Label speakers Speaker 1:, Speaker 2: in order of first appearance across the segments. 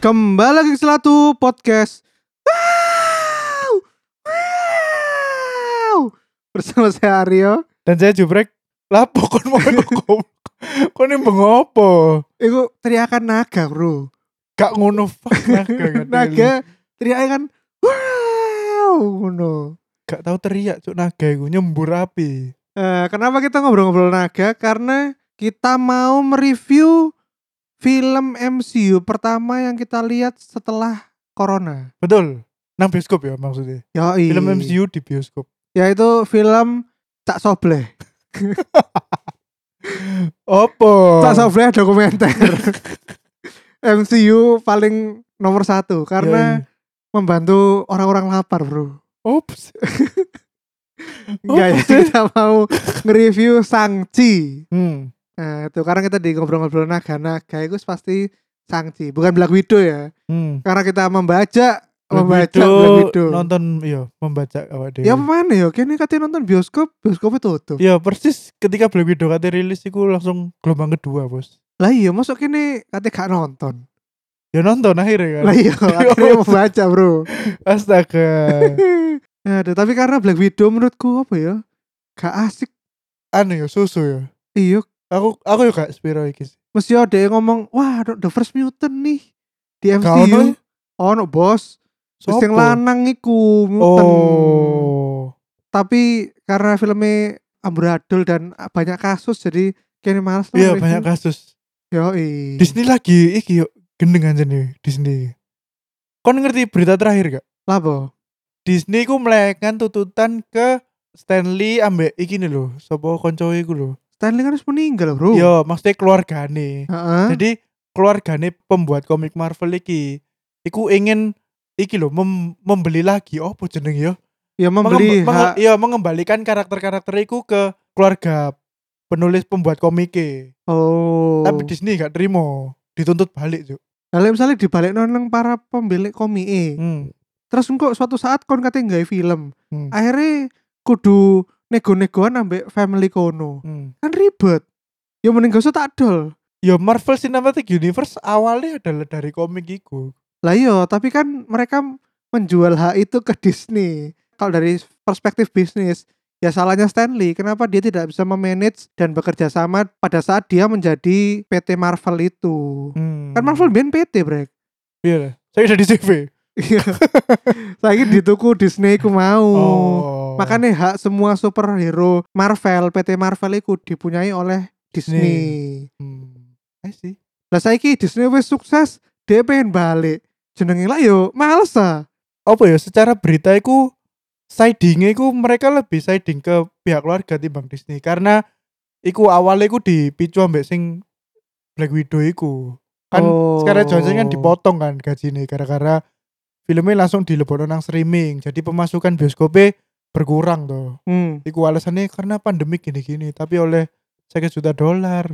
Speaker 1: Kembali lagi ke Selatu Podcast. Wow! Wow! Bersama saya Aryo.
Speaker 2: Dan saya jubrek lapo kon mau kok kon ini bengopo.
Speaker 1: Itu teriakan naga, Bro.
Speaker 2: Gak ngono fuck naga. gak teli.
Speaker 1: naga teriakan kan, wow ngono.
Speaker 2: gak tahu teriak cuk naga iku nyembur api.
Speaker 1: Eh, kenapa kita ngobrol-ngobrol naga? Karena kita mau mereview film MCU pertama yang kita lihat setelah corona.
Speaker 2: Betul. Nang bioskop ya maksudnya.
Speaker 1: Yoi.
Speaker 2: Film MCU di bioskop.
Speaker 1: yaitu film Cak Sobleh.
Speaker 2: Opo?
Speaker 1: Cak Sobleh dokumenter. MCU paling nomor satu
Speaker 2: Ya,
Speaker 1: karena
Speaker 2: Yoi.
Speaker 1: membantu orang-orang lapar bro.
Speaker 2: Ops.
Speaker 1: Enggak ya
Speaker 2: Oke.
Speaker 1: kita mau nge-review Sangchi.
Speaker 2: Hmm.
Speaker 1: Nah itu karena kita di ngobrol-ngobrol naga-naga itu pasti Sangchi. Bukan Black Widow ya.
Speaker 2: Hmm.
Speaker 1: Karena kita membaca membaca
Speaker 2: Widow,
Speaker 1: Black Widow.
Speaker 2: nonton iya membaca awak dhewe.
Speaker 1: Ya mana ya? Kini katanya nonton bioskop, bioskopnya tutup.
Speaker 2: Ya persis ketika Black Widow kate rilis iku langsung gelombang kedua, Bos.
Speaker 1: Lah iya, masuk kini katanya gak nonton.
Speaker 2: Ya nonton akhirnya kan.
Speaker 1: Lah iya, akhirnya membaca bro.
Speaker 2: Astaga.
Speaker 1: Aduh, tapi karena Black Widow menurutku apa ya? Gak asik.
Speaker 2: anu ya susu ya.
Speaker 1: Iya,
Speaker 2: Aku aku ya gak spiro iki. sih.
Speaker 1: mesti ada yang ngomong, "Wah, the first mutant nih di
Speaker 2: Gak ono ya?
Speaker 1: MCU." Oh, Ono, Bos. Terus yang
Speaker 2: Sopo?
Speaker 1: lanang iku mutant.
Speaker 2: Oh.
Speaker 1: Tapi karena filmnya amburadul dan banyak kasus jadi kayaknya males lah
Speaker 2: Iya
Speaker 1: review.
Speaker 2: banyak kasus.
Speaker 1: Yoi.
Speaker 2: Disney lagi iki yuk gendeng aja nih Disney. Kon ngerti berita terakhir gak?
Speaker 1: Lah, Bo.
Speaker 2: Disney ku melekkan tuntutan ke Stanley ambek iki nih loh, sopo koncoe iku loh.
Speaker 1: Stanley kan harus meninggal, Bro.
Speaker 2: Yo, maksudnya keluargane.
Speaker 1: Heeh.
Speaker 2: Iya. Jadi keluargane pembuat komik Marvel iki iku ingin iki loh mem- membeli lagi opo jeneng ya?
Speaker 1: Ya membeli
Speaker 2: Mengemb- menge-
Speaker 1: hak
Speaker 2: iya, mengembalikan karakter-karakter iku ke keluarga penulis pembuat komike.
Speaker 1: Oh.
Speaker 2: Tapi Disney gak terima, dituntut balik, Cuk.
Speaker 1: Lah, lek misalnya dibalik nang para pemilik komik.
Speaker 2: Hmm.
Speaker 1: Terus engko suatu saat kon katanya nggak film.
Speaker 2: Hmm.
Speaker 1: akhirnya kudu nego-negoan ambek family kono
Speaker 2: hmm.
Speaker 1: kan ribet ya mending gak usah tak dol
Speaker 2: Ya Marvel Cinematic Universe awalnya adalah dari komik iku.
Speaker 1: lah iya tapi kan mereka menjual hak itu ke Disney kalau dari perspektif bisnis ya salahnya Stanley kenapa dia tidak bisa memanage dan bekerja sama pada saat dia menjadi PT Marvel itu
Speaker 2: Hmm.
Speaker 1: kan Marvel ben PT brek
Speaker 2: Iya. lah. Saya udah di CV.
Speaker 1: Iya. saiki dituku Disney ku mau
Speaker 2: Oh.
Speaker 1: makanya hak semua superhero Marvel PT Marvel itu dipunyai oleh Disney.
Speaker 2: hmm. I see.
Speaker 1: Lah saiki Disney wis sukses, dia pengen balik. Jenenge lah yo males ah.
Speaker 2: Apa ya secara berita iku sidingnya iku mereka lebih siding ke pihak keluarga timbang Disney karena iku awalnya iku dipicu ambek sing Black Widow iku. Kan
Speaker 1: Oh.
Speaker 2: Scarlett Johansson kan dipotong kan gajinya gara-gara filmnya langsung dilebokno nang streaming. Jadi pemasukan bioskopnya berkurang tuh.
Speaker 1: Hmm.
Speaker 2: Iku alasannya karena pandemi gini-gini, tapi oleh saya juta dolar.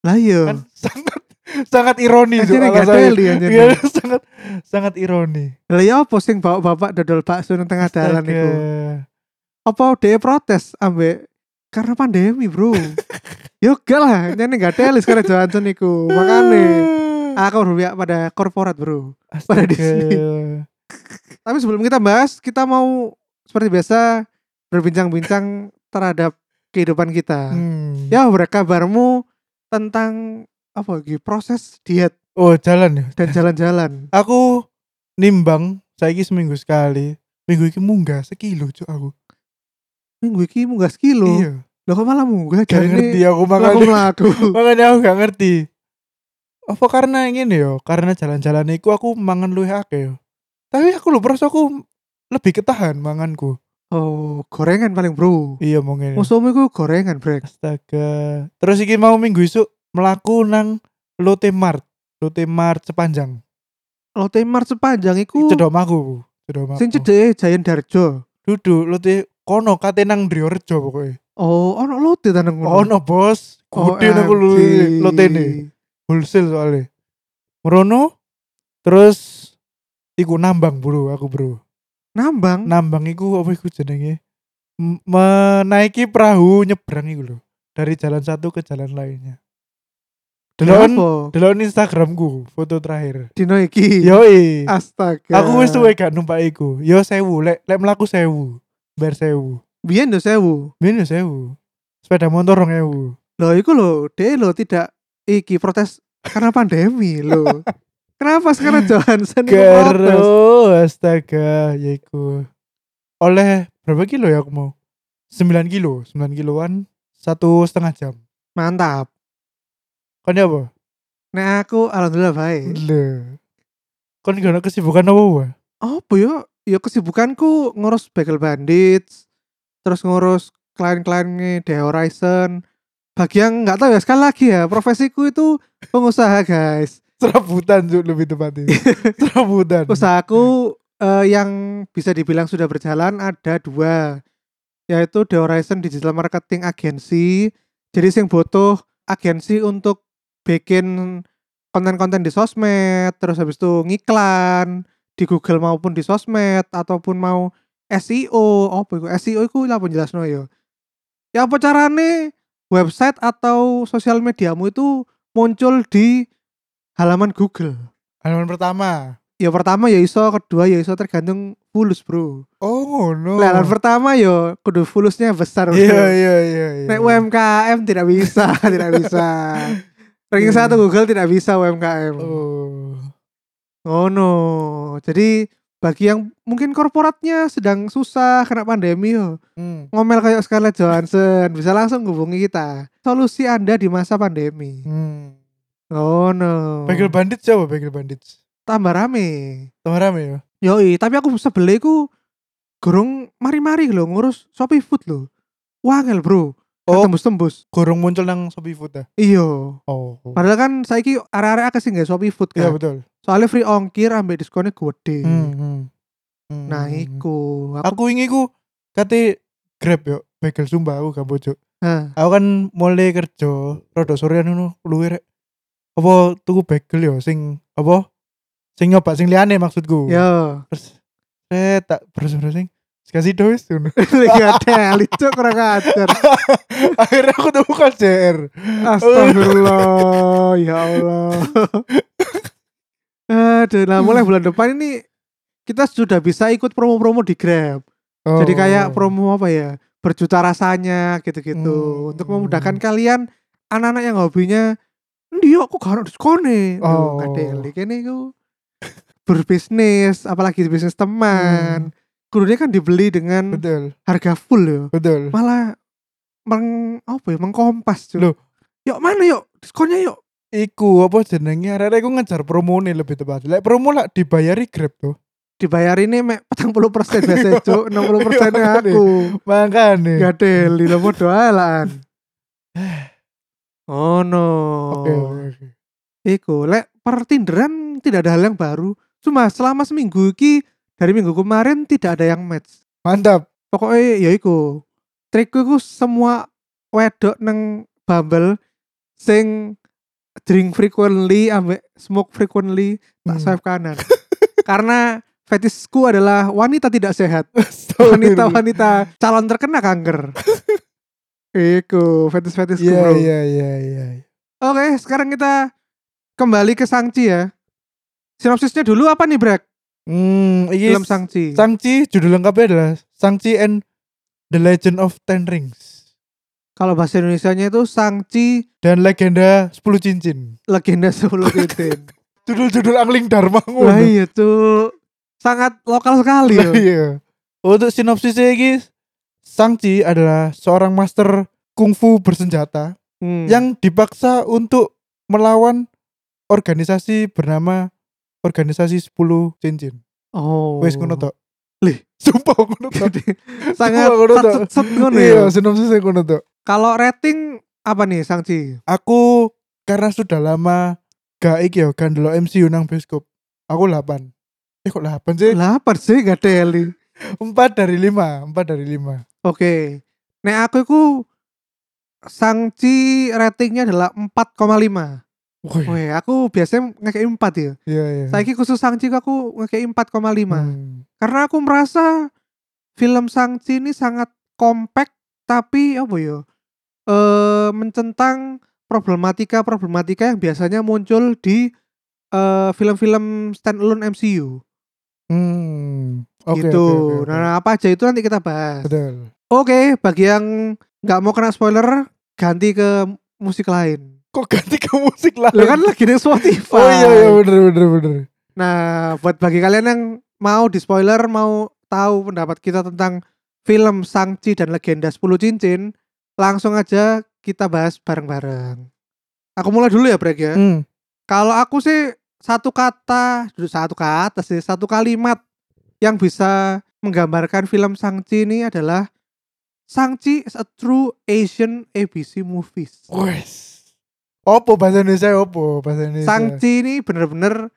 Speaker 1: Lah yo.
Speaker 2: Kan sangat sangat ironi tuh
Speaker 1: Anjene gak
Speaker 2: alasannya.
Speaker 1: teli
Speaker 2: Iya,
Speaker 1: anjene.
Speaker 2: sangat sangat ironi.
Speaker 1: Lah ya apa sing bapak-bapak dodol bakso nang tengah dalan
Speaker 2: Astaga.
Speaker 1: iku? Apa dia protes ambek karena pandemi, Bro. yo gak lah, nyene gak telis karena Johansson iku. Makane aku berpihak pada korporat, Bro. pada
Speaker 2: Astaga.
Speaker 1: Disney. Tapi sebelum kita bahas, kita mau seperti biasa berbincang-bincang terhadap kehidupan kita.
Speaker 2: Hmm.
Speaker 1: Ya, berkabarmu tentang apa lagi proses diet
Speaker 2: Oh, jalan ya.
Speaker 1: dan jalan-jalan.
Speaker 2: Aku nimbang saiki seminggu sekali. Minggu ini munggah sekilo cuk aku.
Speaker 1: Minggu ini munggah sekilo.
Speaker 2: Iya.
Speaker 1: Loh kok malah munggah?
Speaker 2: Gak
Speaker 1: Jarine
Speaker 2: ngerti ya, aku
Speaker 1: Laku
Speaker 2: makanya.
Speaker 1: melaku.
Speaker 2: makanya aku gak ngerti apa karena ini yo karena jalan-jalan iku aku mangan luwih akeh yo tapi aku lho proses aku lebih ketahan manganku
Speaker 1: Oh, gorengan paling bro.
Speaker 2: iya mungkin
Speaker 1: Musuhmu itu gorengan, brek.
Speaker 2: astaga terus iki mau minggu isuk melaku nang Lotte Mart Lotte Mart sepanjang
Speaker 1: Lotte Mart sepanjang
Speaker 2: uh.
Speaker 1: iku
Speaker 2: cedok aku cedok aku
Speaker 1: sing cedeke Jayan Darjo.
Speaker 2: duduk Lotte kono kate nang Driorejo pokoknya
Speaker 1: Oh, ono Lotte ta nang
Speaker 2: oh no bos gede
Speaker 1: OMG.
Speaker 2: aku lho Lotte ini wholesale soalnya merono terus iku nambang bro aku bro
Speaker 1: Nambang.
Speaker 2: nambang iku apa iku jenenge M- menaiki perahu nyebrang iku lho dari jalan satu ke jalan lainnya Delon,
Speaker 1: Apa?
Speaker 2: delon Instagramku foto terakhir.
Speaker 1: Dino iki.
Speaker 2: Yoi.
Speaker 1: Astaga.
Speaker 2: Aku wis tuwe gak numpak iku. Yo sewu, lek lek mlaku sewu. Ber sewu.
Speaker 1: Biyen lho sewu.
Speaker 2: Min yo sewu. Sepeda motor rong ewu.
Speaker 1: Loh iku lho, dhek lho tidak iki protes karena pandemi lho. Kenapa sekarang Johansen iku protes?
Speaker 2: Gero, astaga, yaiku. Oleh berapa kilo ya aku mau? 9 kilo, 9 kiloan satu setengah jam.
Speaker 1: Mantap.
Speaker 2: Kon ya apa?
Speaker 1: Nek aku alhamdulillah baik.
Speaker 2: Le. Kon gak ada kesibukan apa apa?
Speaker 1: Apa yo? Ya kesibukanku ngurus Bagel Bandits, terus ngurus klien-kliennya The Horizon. Bagi yang nggak tahu ya sekali lagi ya, profesiku itu pengusaha, guys.
Speaker 2: Serabutan Cuk, lebih tepatnya. Serabutan.
Speaker 1: Usahaku eh, yang bisa dibilang sudah berjalan ada dua, yaitu The Horizon Digital Marketing Agency. Jadi sing butuh agensi untuk bikin konten-konten di sosmed, terus habis itu ngiklan di Google maupun di sosmed ataupun mau SEO, apa iku SEO iku lah penjelasno ya. Ya apa carane website atau sosial mediamu itu muncul di halaman Google
Speaker 2: Halaman pertama.
Speaker 1: ya pertama ya iso kedua ya iso tergantung fulus bro
Speaker 2: Oh ngono.
Speaker 1: Lah, halaman pertama ya kudu fulusnya besar bro
Speaker 2: Iya iya iya. iya.
Speaker 1: Nek UMKM tidak bisa tidak bisa ranking
Speaker 2: Iya.
Speaker 1: satu Google tidak bisa UMKM oh,
Speaker 2: Oh.
Speaker 1: no jadi bagi yang mungkin korporatnya sedang susah kena pandemi yo
Speaker 2: Hmm.
Speaker 1: ngomel kayak Scarlett Johansson bisa langsung hubungi kita solusi anda di masa pandemi
Speaker 2: Hmm.
Speaker 1: oh no
Speaker 2: Bagel bandit siapa bagel bandit?
Speaker 1: tambah rame
Speaker 2: Tambah rame ya?
Speaker 1: Yoi, tapi aku sebele iku gorong mari-mari lho ngurus Shopee Food lho. Wangel, Bro.
Speaker 2: Oh.
Speaker 1: Oh, tembus-tembus.
Speaker 2: Gorong muncul nang Shopee Food ya?
Speaker 1: Iya.
Speaker 2: Oh.
Speaker 1: Padahal kan saiki area-area akeh sing nggak Shopee Food
Speaker 2: Iya
Speaker 1: kan.
Speaker 2: betul.
Speaker 1: Soalnya free ongkir ambek diskonnya gede.
Speaker 2: Hmm, hmm. Hmm.
Speaker 1: Iya. Nah, iku. Aku,
Speaker 2: aku ingin ku kate grab yo bagel sumpah aku gak bojo
Speaker 1: Hah,
Speaker 2: aku kan mulai kerja rada sorean ngono luwe rek apa tuku bagel yo sing apa sing nyoba sing liyane maksudku
Speaker 1: Yo.
Speaker 2: terus eh tak browsing-browsing kasih dois ngono
Speaker 1: Lagi ada lucu kurang ajar.
Speaker 2: akhirnya aku tuku KCR
Speaker 1: Astagfirullah, ya Allah. Aduh, nah mulai bulan depan ini kita sudah bisa ikut promo-promo di Grab.
Speaker 2: Oh.
Speaker 1: Jadi kayak promo apa ya? Berjuta rasanya gitu-gitu
Speaker 2: Hmm.
Speaker 1: untuk memudahkan kalian anak-anak yang hobinya dia aku gak ada diskon nih
Speaker 2: Oh.
Speaker 1: oh. kene iku berbisnis apalagi bisnis teman kudunya kan dibeli dengan
Speaker 2: Hmm, betul
Speaker 1: harga full ya
Speaker 2: betul
Speaker 1: malah meng apa ya mengkompas cuy
Speaker 2: Loh.
Speaker 1: yuk mana yuk diskonnya yuk
Speaker 2: iku apa jenenge arek aku ngejar promo nih lebih tepat lek promo lah dibayari grab tuh
Speaker 1: dibayar ini mek petang puluh persen biasa cuk 60 aku
Speaker 2: makanya
Speaker 1: Gak deli lo mau doalan. Oh no.
Speaker 2: oke oke, oke.
Speaker 1: Iku lek per Tinderan tidak ada hal yang baru. Cuma selama seminggu iki dari minggu kemarin tidak ada yang match.
Speaker 2: mantap
Speaker 1: Pokoknya ya iku. Trikku iku semua wedok neng Bumble sing drink frequently ambek smoke frequently tak
Speaker 2: Hmm.
Speaker 1: swipe kanan. Karena fetishku adalah wanita tidak sehat wanita-wanita calon terkena kanker. Iku fetis-fetis bro.
Speaker 2: Iya iya iya iya.
Speaker 1: Oke, sekarang kita kembali ke Sangci ya. Sinopsisnya dulu apa nih, Brek?
Speaker 2: Hmm, iki
Speaker 1: Film Sangci.
Speaker 2: Sangchi judul lengkapnya adalah Sangchi and the Legend of Ten Rings
Speaker 1: Kalau bahasa Indonesianya itu Sangci
Speaker 2: dan legenda 10 cincin.
Speaker 1: Legenda 10 Titin.
Speaker 2: Judul-judul Angling Dharma
Speaker 1: Wah,
Speaker 2: ngono.
Speaker 1: iya tuh. Sangat lokal sekali.
Speaker 2: Lah
Speaker 1: ya.
Speaker 2: iya. Untuk sinopsisnya iki Sangchi adalah seorang master kungfu bersenjata
Speaker 1: Hmm.
Speaker 2: yang dipaksa untuk melawan organisasi bernama organisasi 10 cincin.
Speaker 1: oh.
Speaker 2: Wes ngono tok.
Speaker 1: Lih.
Speaker 2: sumpah ngono tok.
Speaker 1: Sangat
Speaker 2: Wah, ngono tok.
Speaker 1: set set ngono ya.
Speaker 2: Iya, sinopsisnya ngono tok.
Speaker 1: Kalau rating apa nih Sangci?
Speaker 2: aku karena sudah lama gak iki yo kan delok MCU nang bioskop. Aku 8. Eh kok 8 sih?
Speaker 1: 8 sih gak deli.
Speaker 2: 4 dari 5, 4 dari 5.
Speaker 1: Oke. Nek aku iku Sangci ratingnya adalah 4,5.
Speaker 2: Wih,
Speaker 1: Weh, aku biasanya ngekei 4 ya.
Speaker 2: iya iya.
Speaker 1: Saiki khusus Sangci aku ngekei 4,5.
Speaker 2: Hmm.
Speaker 1: Karena aku merasa film Sangci ini sangat kompak tapi apa ya? Eh mencentang problematika-problematika yang biasanya muncul di eh, film-film standalone MCU
Speaker 2: Hmm. Oke.
Speaker 1: gitu.
Speaker 2: oke, oke, oke.
Speaker 1: Nah, apa aja itu nanti kita bahas.
Speaker 2: Betul.
Speaker 1: Oke, bagi yang nggak mau kena spoiler, ganti ke musik lain.
Speaker 2: Kok ganti ke musik lain?
Speaker 1: Lo kan lagi di Spotify.
Speaker 2: Oh iya iya bener bener bener.
Speaker 1: Nah, buat bagi kalian yang mau di spoiler, mau tahu pendapat kita tentang film Sangchi dan Legenda 10 Cincin, langsung aja kita bahas bareng-bareng. Aku mulai dulu ya, Brek ya.
Speaker 2: Hmm.
Speaker 1: Kalau aku sih satu kata, duh, satu kata sih, satu kalimat yang bisa menggambarkan film Sangchi ini adalah Sangchi is a true Asian ABC movies.
Speaker 2: Wes. Opo bahasa Indonesia opo bahasa Indonesia.
Speaker 1: Sangchi ini bener-bener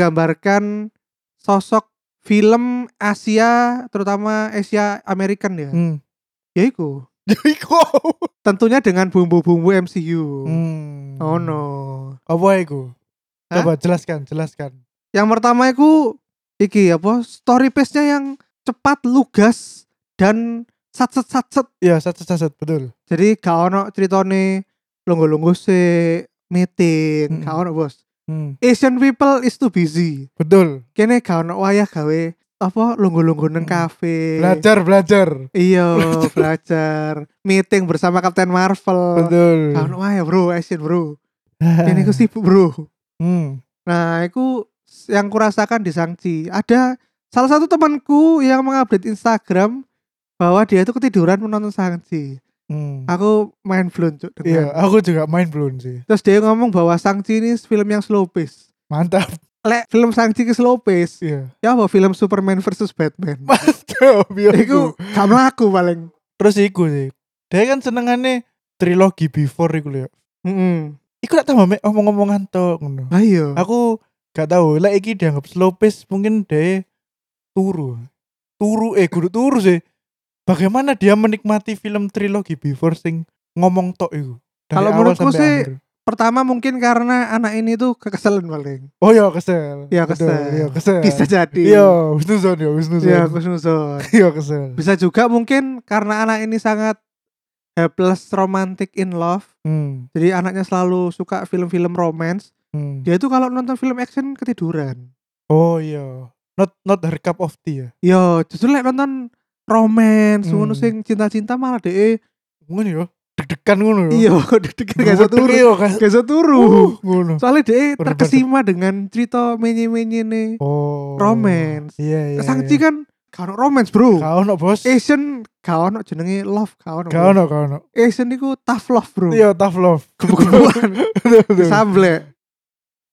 Speaker 1: menggambarkan sosok film Asia, terutama Asia American ya.
Speaker 2: Hmm. Ya,
Speaker 1: Yaiku.
Speaker 2: Jadi kok.
Speaker 1: Tentunya dengan bumbu-bumbu MCU.
Speaker 2: Hmm.
Speaker 1: Oh no.
Speaker 2: Apa itu?
Speaker 1: Hah?
Speaker 2: Coba jelaskan, jelaskan.
Speaker 1: Yang pertama itu iki apa story pace-nya yang cepat, lugas dan satset satset.
Speaker 2: Iya, satu-satu betul.
Speaker 1: Jadi gak ono ceritane longgo-longgo se meeting,
Speaker 2: Mm-mm.
Speaker 1: gak ono bos.
Speaker 2: Hmm.
Speaker 1: Asian people is too busy.
Speaker 2: Betul.
Speaker 1: kene gak ono wayah gawe apa lungguh-lungguh neng
Speaker 2: Hmm.
Speaker 1: kafe
Speaker 2: Belajar, belajar.
Speaker 1: iya belajar meeting bersama Kapten Marvel
Speaker 2: Betul.
Speaker 1: gak ono wayah bro action bro kene ku sibuk bro
Speaker 2: Hmm.
Speaker 1: nah aku yang kurasakan di Sangchi ada salah satu temanku yang mengupdate Instagram bahwa dia itu ketiduran menonton Sangchi
Speaker 2: Hmm.
Speaker 1: aku main blown Cuk,
Speaker 2: Iya,
Speaker 1: dengan
Speaker 2: aku juga main belum sih.
Speaker 1: terus dia ngomong bahwa Sangchi ini film yang slow pace
Speaker 2: Mantap.
Speaker 1: lek film Sangchi ke slow pace
Speaker 2: Iya.
Speaker 1: ya apa film Superman versus Batman
Speaker 2: Mantap. iya, aku.
Speaker 1: Iku gak mlaku paling.
Speaker 2: Terus iku sih. Dia kan senengane trilogi before iku lho. ya.
Speaker 1: Heeh.
Speaker 2: Iku tak tambah mek omong-omongan tok ngono.
Speaker 1: Ayo.
Speaker 2: Aku gak tahu lek iki dianggap slow pace mungkin dia turu. Turu eh kudu turu sih. Bagaimana dia menikmati film trilogi before sing ngomong tok iku. Dari
Speaker 1: Kalau
Speaker 2: awal
Speaker 1: menurutku
Speaker 2: sampai
Speaker 1: sih,
Speaker 2: akhir.
Speaker 1: Pertama mungkin karena anak ini tuh kekeselan paling.
Speaker 2: Oh iya kesel.
Speaker 1: Iya,
Speaker 2: Betul,
Speaker 1: kesel.
Speaker 2: Iya kesel.
Speaker 1: Bisa jadi.
Speaker 2: Iya, Wisnuzon ya, Wisnuzon.
Speaker 1: Iya, khusnuzon.
Speaker 2: Iya kesel.
Speaker 1: Bisa juga mungkin karena anak ini sangat helpless romantic in love.
Speaker 2: Hmm.
Speaker 1: Jadi anaknya selalu suka film-film romance.
Speaker 2: hmm.
Speaker 1: Dia tuh kalau nonton film action ketiduran.
Speaker 2: Oh iya. Not not her cup of tea ya.
Speaker 1: Yo, Iya, justru lek nonton romance,
Speaker 2: Hmm.
Speaker 1: ngono sing cinta-cinta malah deh.
Speaker 2: Ngono ya. Deg-degan ngono ya.
Speaker 1: Iya, deg-degan gak bisa turu.
Speaker 2: Iya kan.
Speaker 1: Gak bisa
Speaker 2: Uh,
Speaker 1: turu.
Speaker 2: ngono.
Speaker 1: Soalnya deh
Speaker 2: Bener-bener.
Speaker 1: terkesima dengan cerita menye-menye nih.
Speaker 2: Oh.
Speaker 1: Romance.
Speaker 2: Iya iya.
Speaker 1: Sangchi
Speaker 2: iya.
Speaker 1: kan gak ono romance bro
Speaker 2: Gak ono, Bos.
Speaker 1: Asian gak ono jenenge love gak ono
Speaker 2: Gak ono, gak ono.
Speaker 1: Asian itu tough love bro
Speaker 2: Iya, tough love.
Speaker 1: Gebuk-gebukan.
Speaker 2: Betul, betul.
Speaker 1: Sable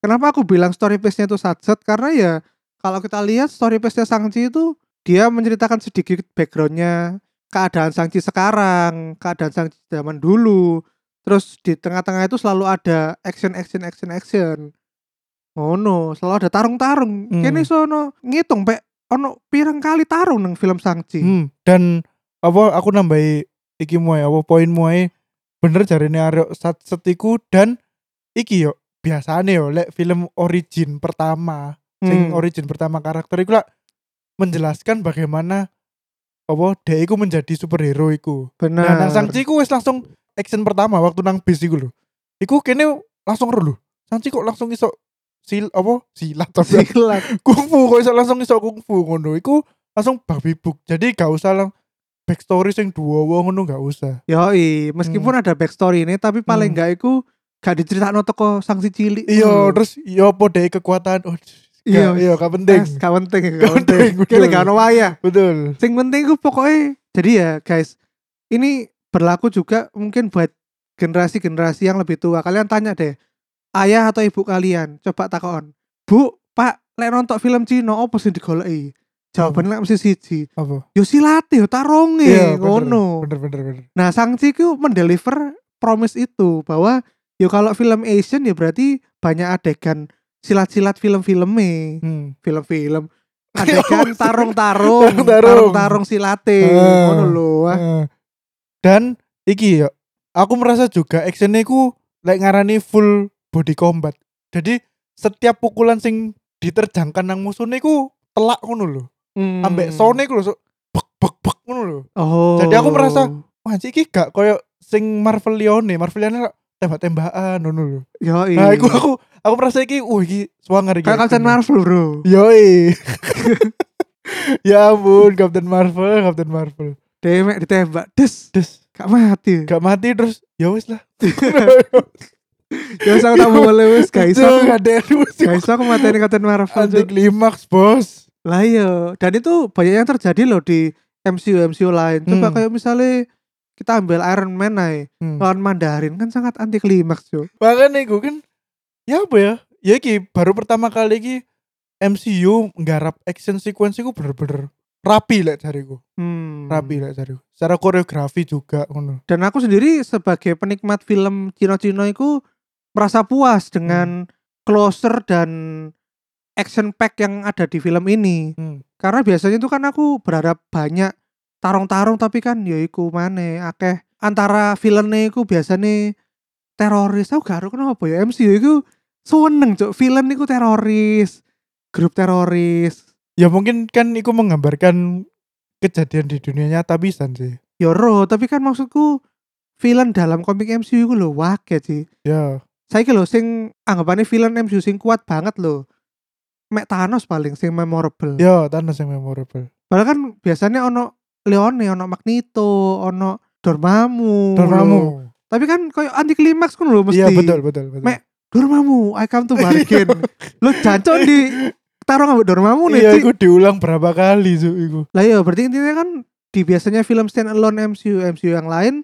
Speaker 1: Kenapa aku bilang story pace-nya itu satset Karena ya Kalau kita lihat story pace-nya Sangchi itu Dia menceritakan sedikit backgroundnya Keadaan Sangchi sekarang Keadaan Sangchi zaman dulu Terus di tengah-tengah itu selalu ada Action, action, action, action Oh no, selalu ada tarung-tarung
Speaker 2: Hmm.
Speaker 1: Kene sono ngitung pek Ono pirang kali tarung neng film Sangchi
Speaker 2: Hmm, dan apa aku nambahi iki moe apa poin moe bener jarine arek sat setiku dan iki yo biasane yo lek film origin pertama
Speaker 1: Hmm.
Speaker 2: sing origin pertama karakter iku lah menjelaskan bagaimana apa dia iku menjadi superhero iku
Speaker 1: Benar.
Speaker 2: nah, nang Sangchi iku wis langsung action pertama waktu nang bis iku lho iku kene langsung ro lho Sangchi kok langsung iso sil apa silat apa
Speaker 1: Silat.
Speaker 2: kungfu kok iso langsung iso kungfu ngono iku langsung babi buk jadi gak usah lang backstory sing dua ngono gak usah
Speaker 1: Yoi, meskipun ada backstory ini tapi paling
Speaker 2: Hmm.
Speaker 1: enggak iku gak diceritakno teko sanksi cilik. Eh,
Speaker 2: iya
Speaker 1: ngono.
Speaker 2: terus iya apa deh kekuatan oh,
Speaker 1: Hmm. Iya,
Speaker 2: iya iya gak penting
Speaker 1: Eh, gak penting,
Speaker 2: Gak
Speaker 1: gak penting.
Speaker 2: penting,
Speaker 1: Kene
Speaker 2: betul.
Speaker 1: gak ono wayah.
Speaker 2: betul
Speaker 1: Sing penting iku pokoknya jadi ya guys, ini berlaku juga mungkin buat generasi-generasi yang lebih tua. Kalian tanya deh, ayah atau ibu kalian, coba takon. Bu, Pak, lek nonton film Cina apa sih digoleki? Jawabannya lek mesti siji.
Speaker 2: apa
Speaker 1: Yo silate yo tarunge
Speaker 2: iya
Speaker 1: ngono.
Speaker 2: bener bener bener
Speaker 1: Nah, Sangchi itu mendeliver promise itu bahwa ya kalau film Asian ya berarti banyak adegan silat-silat film-filmnya,
Speaker 2: hmm.
Speaker 1: film-film adegan tarung-tarung,
Speaker 2: Ya Tarung-tarung.
Speaker 1: tarung-tarung silate,
Speaker 2: Ah.
Speaker 1: ngono lho. Wah,
Speaker 2: Eh, dan iki ya aku merasa juga actionnya ku lek ngarani full body combat jadi setiap pukulan sing diterjangkan nang musuhnya ku telak ngono lho
Speaker 1: hmm.
Speaker 2: ambek sonic lho so, bek bek bek ngono lho
Speaker 1: Oh.
Speaker 2: Jadi aku merasa- Wah, iki gak koyo sing Marvelione, Marvelione tembak-tembakan ngono lho.
Speaker 1: Yo
Speaker 2: Nah, iku aku aku merasa iki uh iki swanger iki.
Speaker 1: Iya. Kayak Captain Marvel, Bro.
Speaker 2: Yoi. ya ampun, Captain Marvel, Captain Marvel.
Speaker 1: Demek ditembak, des,
Speaker 2: Terus
Speaker 1: gak mati.
Speaker 2: gak mati terus ya wis lah.
Speaker 1: Ya sama tak boleh wis, gak iso.
Speaker 2: Itu gak ada yang mesti
Speaker 1: Gak iso aku mateni Captain Marvel.
Speaker 2: anti
Speaker 1: Cuk.
Speaker 2: klimaks, Bos.
Speaker 1: Lah iya, dan itu banyak yang terjadi loh di MCU MCU lain. Coba
Speaker 2: Hmm.
Speaker 1: kayak misalnya kita ambil Iron Man aja,
Speaker 2: Hmm.
Speaker 1: lawan Mandarin kan sangat anti klimaks, Cuk.
Speaker 2: Bahkan nih gue kan ya apa ya? Ya iki baru pertama kali iki MCU nggarap action sequence iku bener-bener rapi lah cari gue
Speaker 1: Hmm.
Speaker 2: rapi lah cari gue secara koreografi juga ngono
Speaker 1: Dan aku sendiri sebagai penikmat film Cino-Cino itu merasa puas
Speaker 2: Hmm.
Speaker 1: dengan closer dan action pack yang ada di film ini.
Speaker 2: Hmm.
Speaker 1: Karena biasanya itu kan aku berharap banyak tarung-tarung tapi kan ya iku maneh akeh antara villain iku biasanya teroris. Aku gak ngerti kenapa ya MCU itu seneng cok villain iku teroris, grup teroris.
Speaker 2: ya mungkin kan iku menggambarkan kejadian di dunia nyata pisan sih
Speaker 1: Yoro, tapi kan maksudku villain dalam komik MCU itu lho wakil sih.
Speaker 2: ya
Speaker 1: Saiki lho sing anggapannya villain MCU sing kuat banget lho. Mek Thanos paling sing memorable.
Speaker 2: ya Thanos yang memorable
Speaker 1: Padahal kan biasanya ono Leone, ono Magneto, ono Dormammu. lho.
Speaker 2: Dormammu
Speaker 1: Tapi kan koyo anti klimaks kan lho Oh. mesti.
Speaker 2: iya betul betul betul
Speaker 1: Mek, Dormammu, I come to bargain. lo jancok di taruh ngambil Dormammu nih.
Speaker 2: iya
Speaker 1: Cik.
Speaker 2: iku diulang berapa kali su iku
Speaker 1: Lah ya berarti intinya kan di biasanya film stand alone MCU MCU yang lain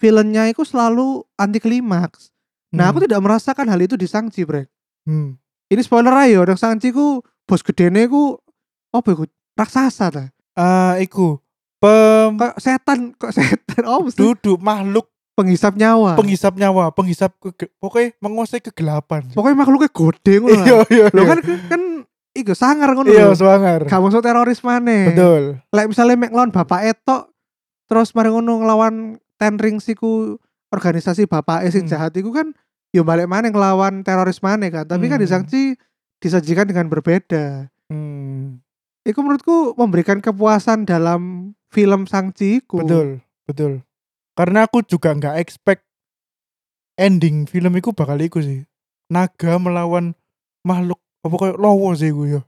Speaker 1: filmnya itu selalu anti klimaks. Nah, aku tidak merasakan hal itu di Shang-Chi, Bre.
Speaker 2: hmm.
Speaker 1: ini spoiler aja orang Sanji ku bos gedene ku apa iku raksasa ta
Speaker 2: Ah, iku pem
Speaker 1: kok setan kok setan oh mesti
Speaker 2: duduk makhluk
Speaker 1: penghisap nyawa
Speaker 2: penghisap nyawa penghisap kege- pokoknya menguasai kegelapan Su.
Speaker 1: pokoknya makhluknya gede ngono lah.
Speaker 2: iya iya
Speaker 1: Loh
Speaker 2: iya
Speaker 1: kan kan iku sangar ngono
Speaker 2: iya
Speaker 1: lho
Speaker 2: swanger
Speaker 1: gak masuk teroris maneh
Speaker 2: betul
Speaker 1: lek misalnya mek lawan bapak etok terus mari ngono ngelawan ten rings iku organisasi bapak sing
Speaker 2: Hmm.
Speaker 1: jahat iku kan yo balik maneh ngelawan teroris maneh kan tapi kan di
Speaker 2: Hmm.
Speaker 1: Sanji disajikan dengan berbeda
Speaker 2: Hmm,
Speaker 1: Iku menurutku memberikan kepuasan dalam film Sangci iku.
Speaker 2: betul betul karena aku juga nggak expect ending film iku bakal iku sih naga melawan makhluk apa kayak lowo sih gue ya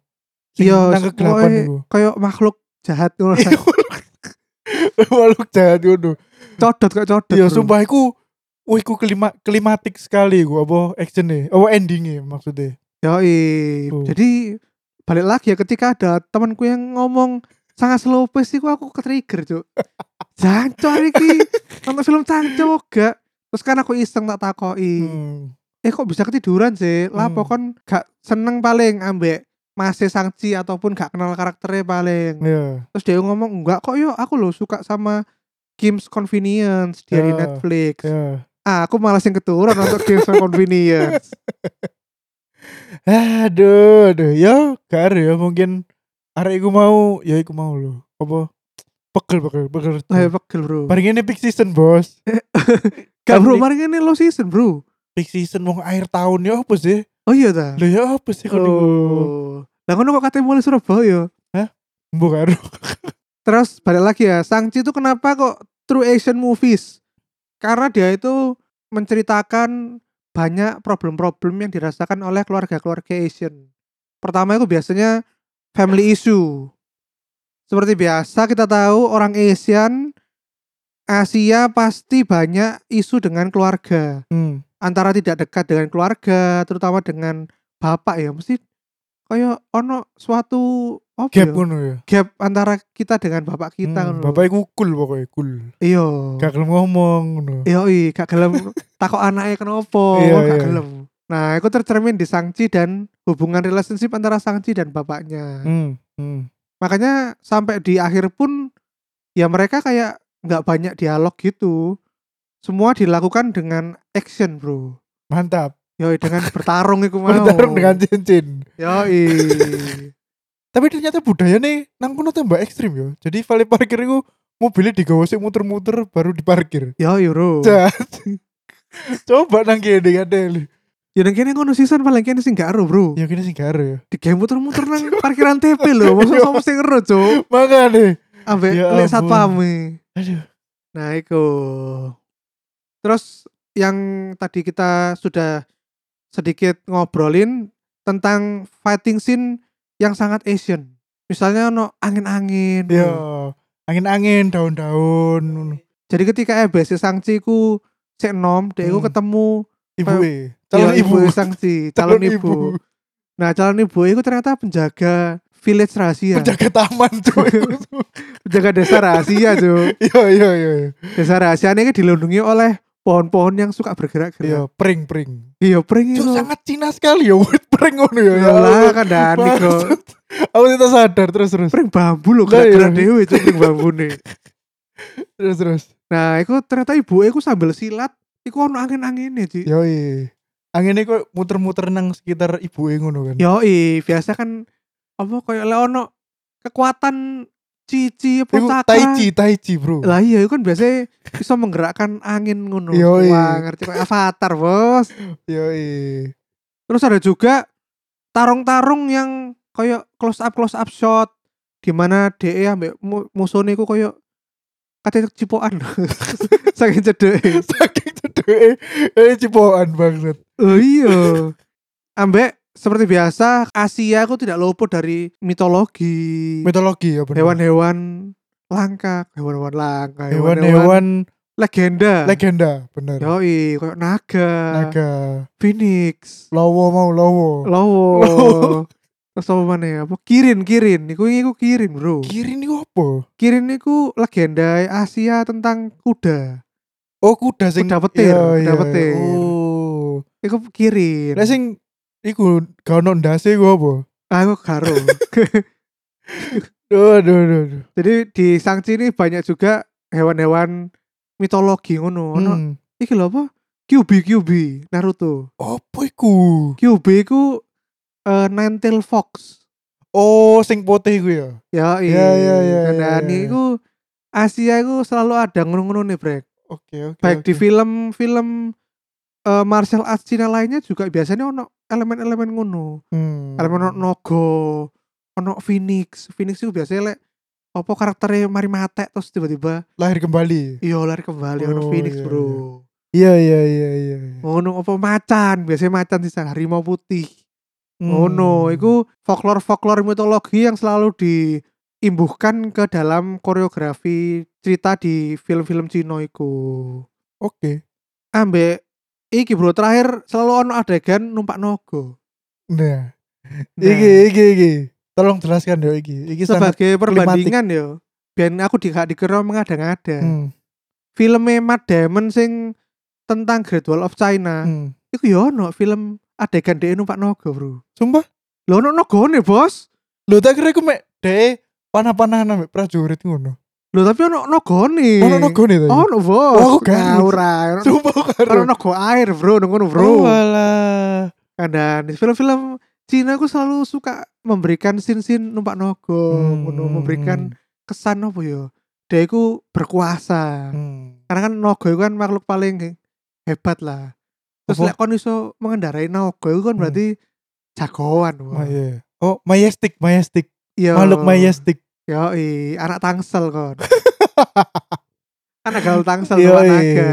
Speaker 2: Sing
Speaker 1: Iya,
Speaker 2: nang kegelapan
Speaker 1: pokoknya-
Speaker 2: iku. Iya.
Speaker 1: kayak makhluk jahat ngono.
Speaker 2: makhluk jahat ngono
Speaker 1: codot kok codot.
Speaker 2: iya
Speaker 1: bro.
Speaker 2: sumpah iku Wih, ku klima, klimatik sekali gue apa actionnya, apa endingnya maksudnya.
Speaker 1: Yoi.
Speaker 2: Tuh.
Speaker 1: Jadi balik lagi ya ketika ada temanku yang ngomong sangat slow pace iku aku ke-trigger, Cuk. Jancok iki. Nonton film Cangco gak. Terus kan aku iseng tak takoki.
Speaker 2: Hmm.
Speaker 1: Eh kok bisa ketiduran sih? Lah
Speaker 2: Hmm.
Speaker 1: pokon gak seneng paling ambek Masih Sangci ataupun gak kenal karakternya paling.
Speaker 2: Iya.
Speaker 1: Terus dia ngomong enggak kok yo aku loh suka sama Games Convenience dia di
Speaker 2: Ya,
Speaker 1: Netflix.
Speaker 2: Iya.
Speaker 1: Ah, aku malas yang keturun untuk Games Convenience.
Speaker 2: Aduh, aduh, ya gak ada ya mungkin arek iku mau, ya iku mau lho. Apa pegel pegel pegel.
Speaker 1: Lah ya pegel, Bro.
Speaker 2: Bareng ini peak season, Bos.
Speaker 1: Gak bro,
Speaker 2: Kan-
Speaker 1: mari ini low season, Bro.
Speaker 2: Peak season wong akhir tahun ya apa sih?
Speaker 1: Oh iya ta.
Speaker 2: Lho ya apa sih kon iku?
Speaker 1: Oh. Lah ngono kok katanya mulai Surabaya. Oh.
Speaker 2: Mbok karo.
Speaker 1: Terus balik lagi ya, Sangchi itu kenapa kok true Asian movies? Karena dia itu menceritakan banyak problem-problem yang dirasakan oleh keluarga-keluarga Asian. Pertama itu biasanya family issue. Seperti biasa kita tahu orang Asian Asia pasti banyak isu dengan keluarga.
Speaker 2: Hmm.
Speaker 1: Antara tidak dekat dengan keluarga, terutama dengan bapak ya. Mesti kayak ono suatu apa ya?
Speaker 2: Gap ngono ya.
Speaker 1: gap antara kita dengan bapak kita
Speaker 2: Hmm,
Speaker 1: kan lho.
Speaker 2: Bapak iku cool pokoknya cool.
Speaker 1: iya
Speaker 2: Gak gelem ngomong ngono.
Speaker 1: iya iya gak gelem takok anaknya kenapa
Speaker 2: Iya,
Speaker 1: gak
Speaker 2: iya.
Speaker 1: gelem nah itu tercermin di Sangci dan hubungan relationship antara Sangci dan bapaknya
Speaker 2: Hmm. Hmm.
Speaker 1: makanya sampai di akhir pun ya mereka kayak nggak banyak dialog gitu semua dilakukan dengan action bro
Speaker 2: Mantap.
Speaker 1: yoi dengan bertarung itu mau
Speaker 2: Bertarung dengan cincin.
Speaker 1: yoi
Speaker 2: Tapi ternyata budaya nih nang kono tambah ekstrim ya. Jadi vale parkir iku mobilnya digawa sik muter-muter baru diparkir.
Speaker 1: yoi bro
Speaker 2: Cah. Coba nang kene kadel.
Speaker 1: ya dan kini ngono season paling kini sih gak ero, bro
Speaker 2: Ya kene sing gak ero ya.
Speaker 1: di game muter-muter nang parkiran TP lho maksud sama sing ero cuk
Speaker 2: Makane.
Speaker 1: ambek
Speaker 2: Ya
Speaker 1: lek e.
Speaker 2: ampun.
Speaker 1: satpame
Speaker 2: Aduh.
Speaker 1: nah iku terus yang tadi kita sudah sedikit ngobrolin tentang fighting scene yang sangat Asian. Misalnya no angin-angin.
Speaker 2: Yo, Ya,
Speaker 1: Hmm.
Speaker 2: angin-angin, daun-daun, ngono.
Speaker 1: Jadi ketika EBC Sangchi ku sik nom, dia ku
Speaker 2: Hmm.
Speaker 1: ketemu
Speaker 2: ibu
Speaker 1: Apa-
Speaker 2: e,
Speaker 1: ya,
Speaker 2: calon ibu,
Speaker 1: Sangchi, calon, ibu. Nah, calon ibu itu ternyata penjaga village rahasia, penjaga,
Speaker 2: penjaga taman tuh.
Speaker 1: desa rahasia, Cuk.
Speaker 2: Yo yo yo yo.
Speaker 1: Desa rahasia ini dilindungi oleh pohon-pohon yang suka
Speaker 2: Yo,
Speaker 1: bergerak-gerak.
Speaker 2: pring pring.
Speaker 1: Iya, pring
Speaker 2: Cuk,
Speaker 1: itu.
Speaker 2: sangat Cina sekali ya wit pring ngono ya.
Speaker 1: Ya lah, kan dan
Speaker 2: Maksud, Aku tidak sadar terus terus
Speaker 1: pring bambu loh,
Speaker 2: Lah,
Speaker 1: gerak-gerak
Speaker 2: iya.
Speaker 1: dewe Cuk, pring bambu nih.
Speaker 2: terus terus.
Speaker 1: Nah, itu ternyata ibu aku sambil silat, iku ono e, angin-anginnya, Ci.
Speaker 2: Yo Anginnya kok muter-muter nang sekitar ibu e
Speaker 1: Iya,
Speaker 2: ngono kan.
Speaker 1: Yoi, biasa kan apa kayak leono kekuatan cici apa
Speaker 2: Iku
Speaker 1: cakra.
Speaker 2: tai chi, tai chi, bro.
Speaker 1: Lah iya itu kan biasanya bisa menggerakkan angin ngono.
Speaker 2: Yoi.
Speaker 1: Wah, ngerti kayak avatar, Bos.
Speaker 2: Yo
Speaker 1: Terus ada juga tarung-tarung yang kayak close up close up shot di mana DE ambek mu- musuhnya iku kayak katanya cipokan. Saking cedek.
Speaker 2: Saking cedek eh cipokan banget.
Speaker 1: Oh iya. Ambek seperti biasa Asia aku tidak luput dari mitologi.
Speaker 2: Mitologi ya bener.
Speaker 1: hewan-hewan langka, hewan-hewan langka,
Speaker 2: hewan-hewan
Speaker 1: legenda.
Speaker 2: legenda bener.
Speaker 1: Yoi, kayak naga,
Speaker 2: Naga,
Speaker 1: phoenix,
Speaker 2: lowo mau lowo.
Speaker 1: lowo. Terus apa mana ya? Apa Kirin, Kirin. Iku iku Kirin, Bro.
Speaker 2: Kiri ini apa?
Speaker 1: Kirin iku legenda Asia tentang kuda.
Speaker 2: Oh kuda sing
Speaker 1: Kuda petir,
Speaker 2: Iya,
Speaker 1: kuda
Speaker 2: iya.
Speaker 1: petir.
Speaker 2: Oh.
Speaker 1: Iku Kirin.
Speaker 2: Lah sing iku ga ono ndase iku apa?
Speaker 1: Ah, iku Garo.
Speaker 2: Duh, duh, duh, duh.
Speaker 1: Jadi di Sangchi ini banyak juga hewan-hewan mitologi ngono. Ono
Speaker 2: Hmm.
Speaker 1: iki lho apa? Kyubi Kyubi Naruto.
Speaker 2: Apa iku?
Speaker 1: QB ku eh Ninetale Fox.
Speaker 2: Oh, sing putih iku ya.
Speaker 1: Ya,
Speaker 2: Ya, ya, ya, ya,
Speaker 1: Dan
Speaker 2: ya.
Speaker 1: iku Asia iku selalu ada ngono-ngono nih, Brek.
Speaker 2: Oke, oke.
Speaker 1: Baik di
Speaker 2: oke.
Speaker 1: film-film eh, martial arts Cina lainnya juga biasanya ono elemen-elemen ngono.
Speaker 2: Hmm.
Speaker 1: Elemen ono naga, ono phoenix. Phoenix itu biasanya lek apa karakternya mari matek terus tiba-tiba
Speaker 2: lahir kembali.
Speaker 1: iya lari kembali ono
Speaker 2: Oh,
Speaker 1: phoenix,
Speaker 2: iya,
Speaker 1: Bro.
Speaker 2: Iya, iya, iya, iya. iya.
Speaker 1: Ngono apa macan, biasanya macan sisa harimau putih.
Speaker 2: Hmm.
Speaker 1: Oh no, itu folklore-folklore mitologi yang selalu diimbuhkan ke dalam koreografi cerita di film-film Cina iku.
Speaker 2: Oke.
Speaker 1: Ambek iki bro terakhir selalu ono adegan numpak nogo.
Speaker 2: Nah,
Speaker 1: Nah,
Speaker 2: iki iki iki. Tolong jelaskan ya iki. Iki sangat
Speaker 1: sebagai perbandingan yo. Biar aku di gak dikira mengada-ngada.
Speaker 2: Hmm,
Speaker 1: Filmnya Matt Damon sing tentang Great Wall of China.
Speaker 2: hmm.
Speaker 1: Iku yo ono film adegan dia numpak nogo, Bro.
Speaker 2: Sumpah,
Speaker 1: Lho ono nogone, Bos.
Speaker 2: lho tak kira iku mek dhek panah-panahan ambek prajurit ngono.
Speaker 1: Lho tapi ono nogone.
Speaker 2: Ono nogone ta?
Speaker 1: Oh, no, bos.
Speaker 2: Oh,
Speaker 1: Nah,
Speaker 2: kan.
Speaker 1: ora. Ono-
Speaker 2: Sumpah
Speaker 1: Ono
Speaker 2: karo.
Speaker 1: no go air, bro. Ngono, bro.
Speaker 2: Oh, alah.
Speaker 1: Kandang. Di film-film Cina aku selalu suka memberikan sin-sin numpak nogo,
Speaker 2: Hmm.
Speaker 1: ngono, memberikan kesan apa ya? Dia iku berkuasa.
Speaker 2: hmm.
Speaker 1: Karena kan nogo itu kan makhluk paling hebat lah. Terus
Speaker 2: Apa?
Speaker 1: lek kon iso mengendarai nogo itu kan
Speaker 2: Hmm.
Speaker 1: berarti jagoan.
Speaker 2: Hmm.
Speaker 1: wah.
Speaker 2: Ma- iya. Oh, majestic, majestic.
Speaker 1: Yo.
Speaker 2: Makhluk majestic.
Speaker 1: Yoi, anak tangsel kon. anak gaul tangsel
Speaker 2: Yoi.
Speaker 1: numpak naga.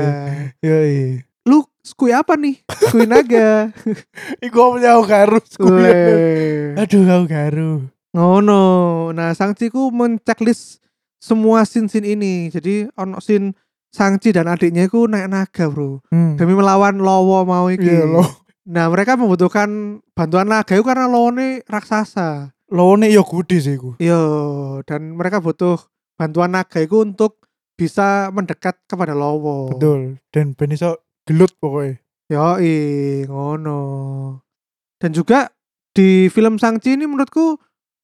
Speaker 2: Yo iya.
Speaker 1: Lu skui apa nih? Skui naga.
Speaker 2: Iku punya aku garu. sekuyon.
Speaker 1: Le.
Speaker 2: Aduh, aku garu.
Speaker 1: Ngono. Nah, Sangci ku menceklis semua sin-sin ini. Jadi ono sin Sangci dan adiknya ku naik naga, Bro.
Speaker 2: Hmm.
Speaker 1: Demi melawan Lowo mau iki.
Speaker 2: Iya, lo.
Speaker 1: Nah, mereka membutuhkan bantuan naga itu karena Lowone raksasa.
Speaker 2: Lawane yo gudi iya sih iku.
Speaker 1: Yo, dan mereka butuh bantuan naga itu untuk bisa mendekat kepada Lowo.
Speaker 2: Betul. Dan ben iso gelut pokoknya.
Speaker 1: Yoi, ngono. Dan juga di film Sangchi ini menurutku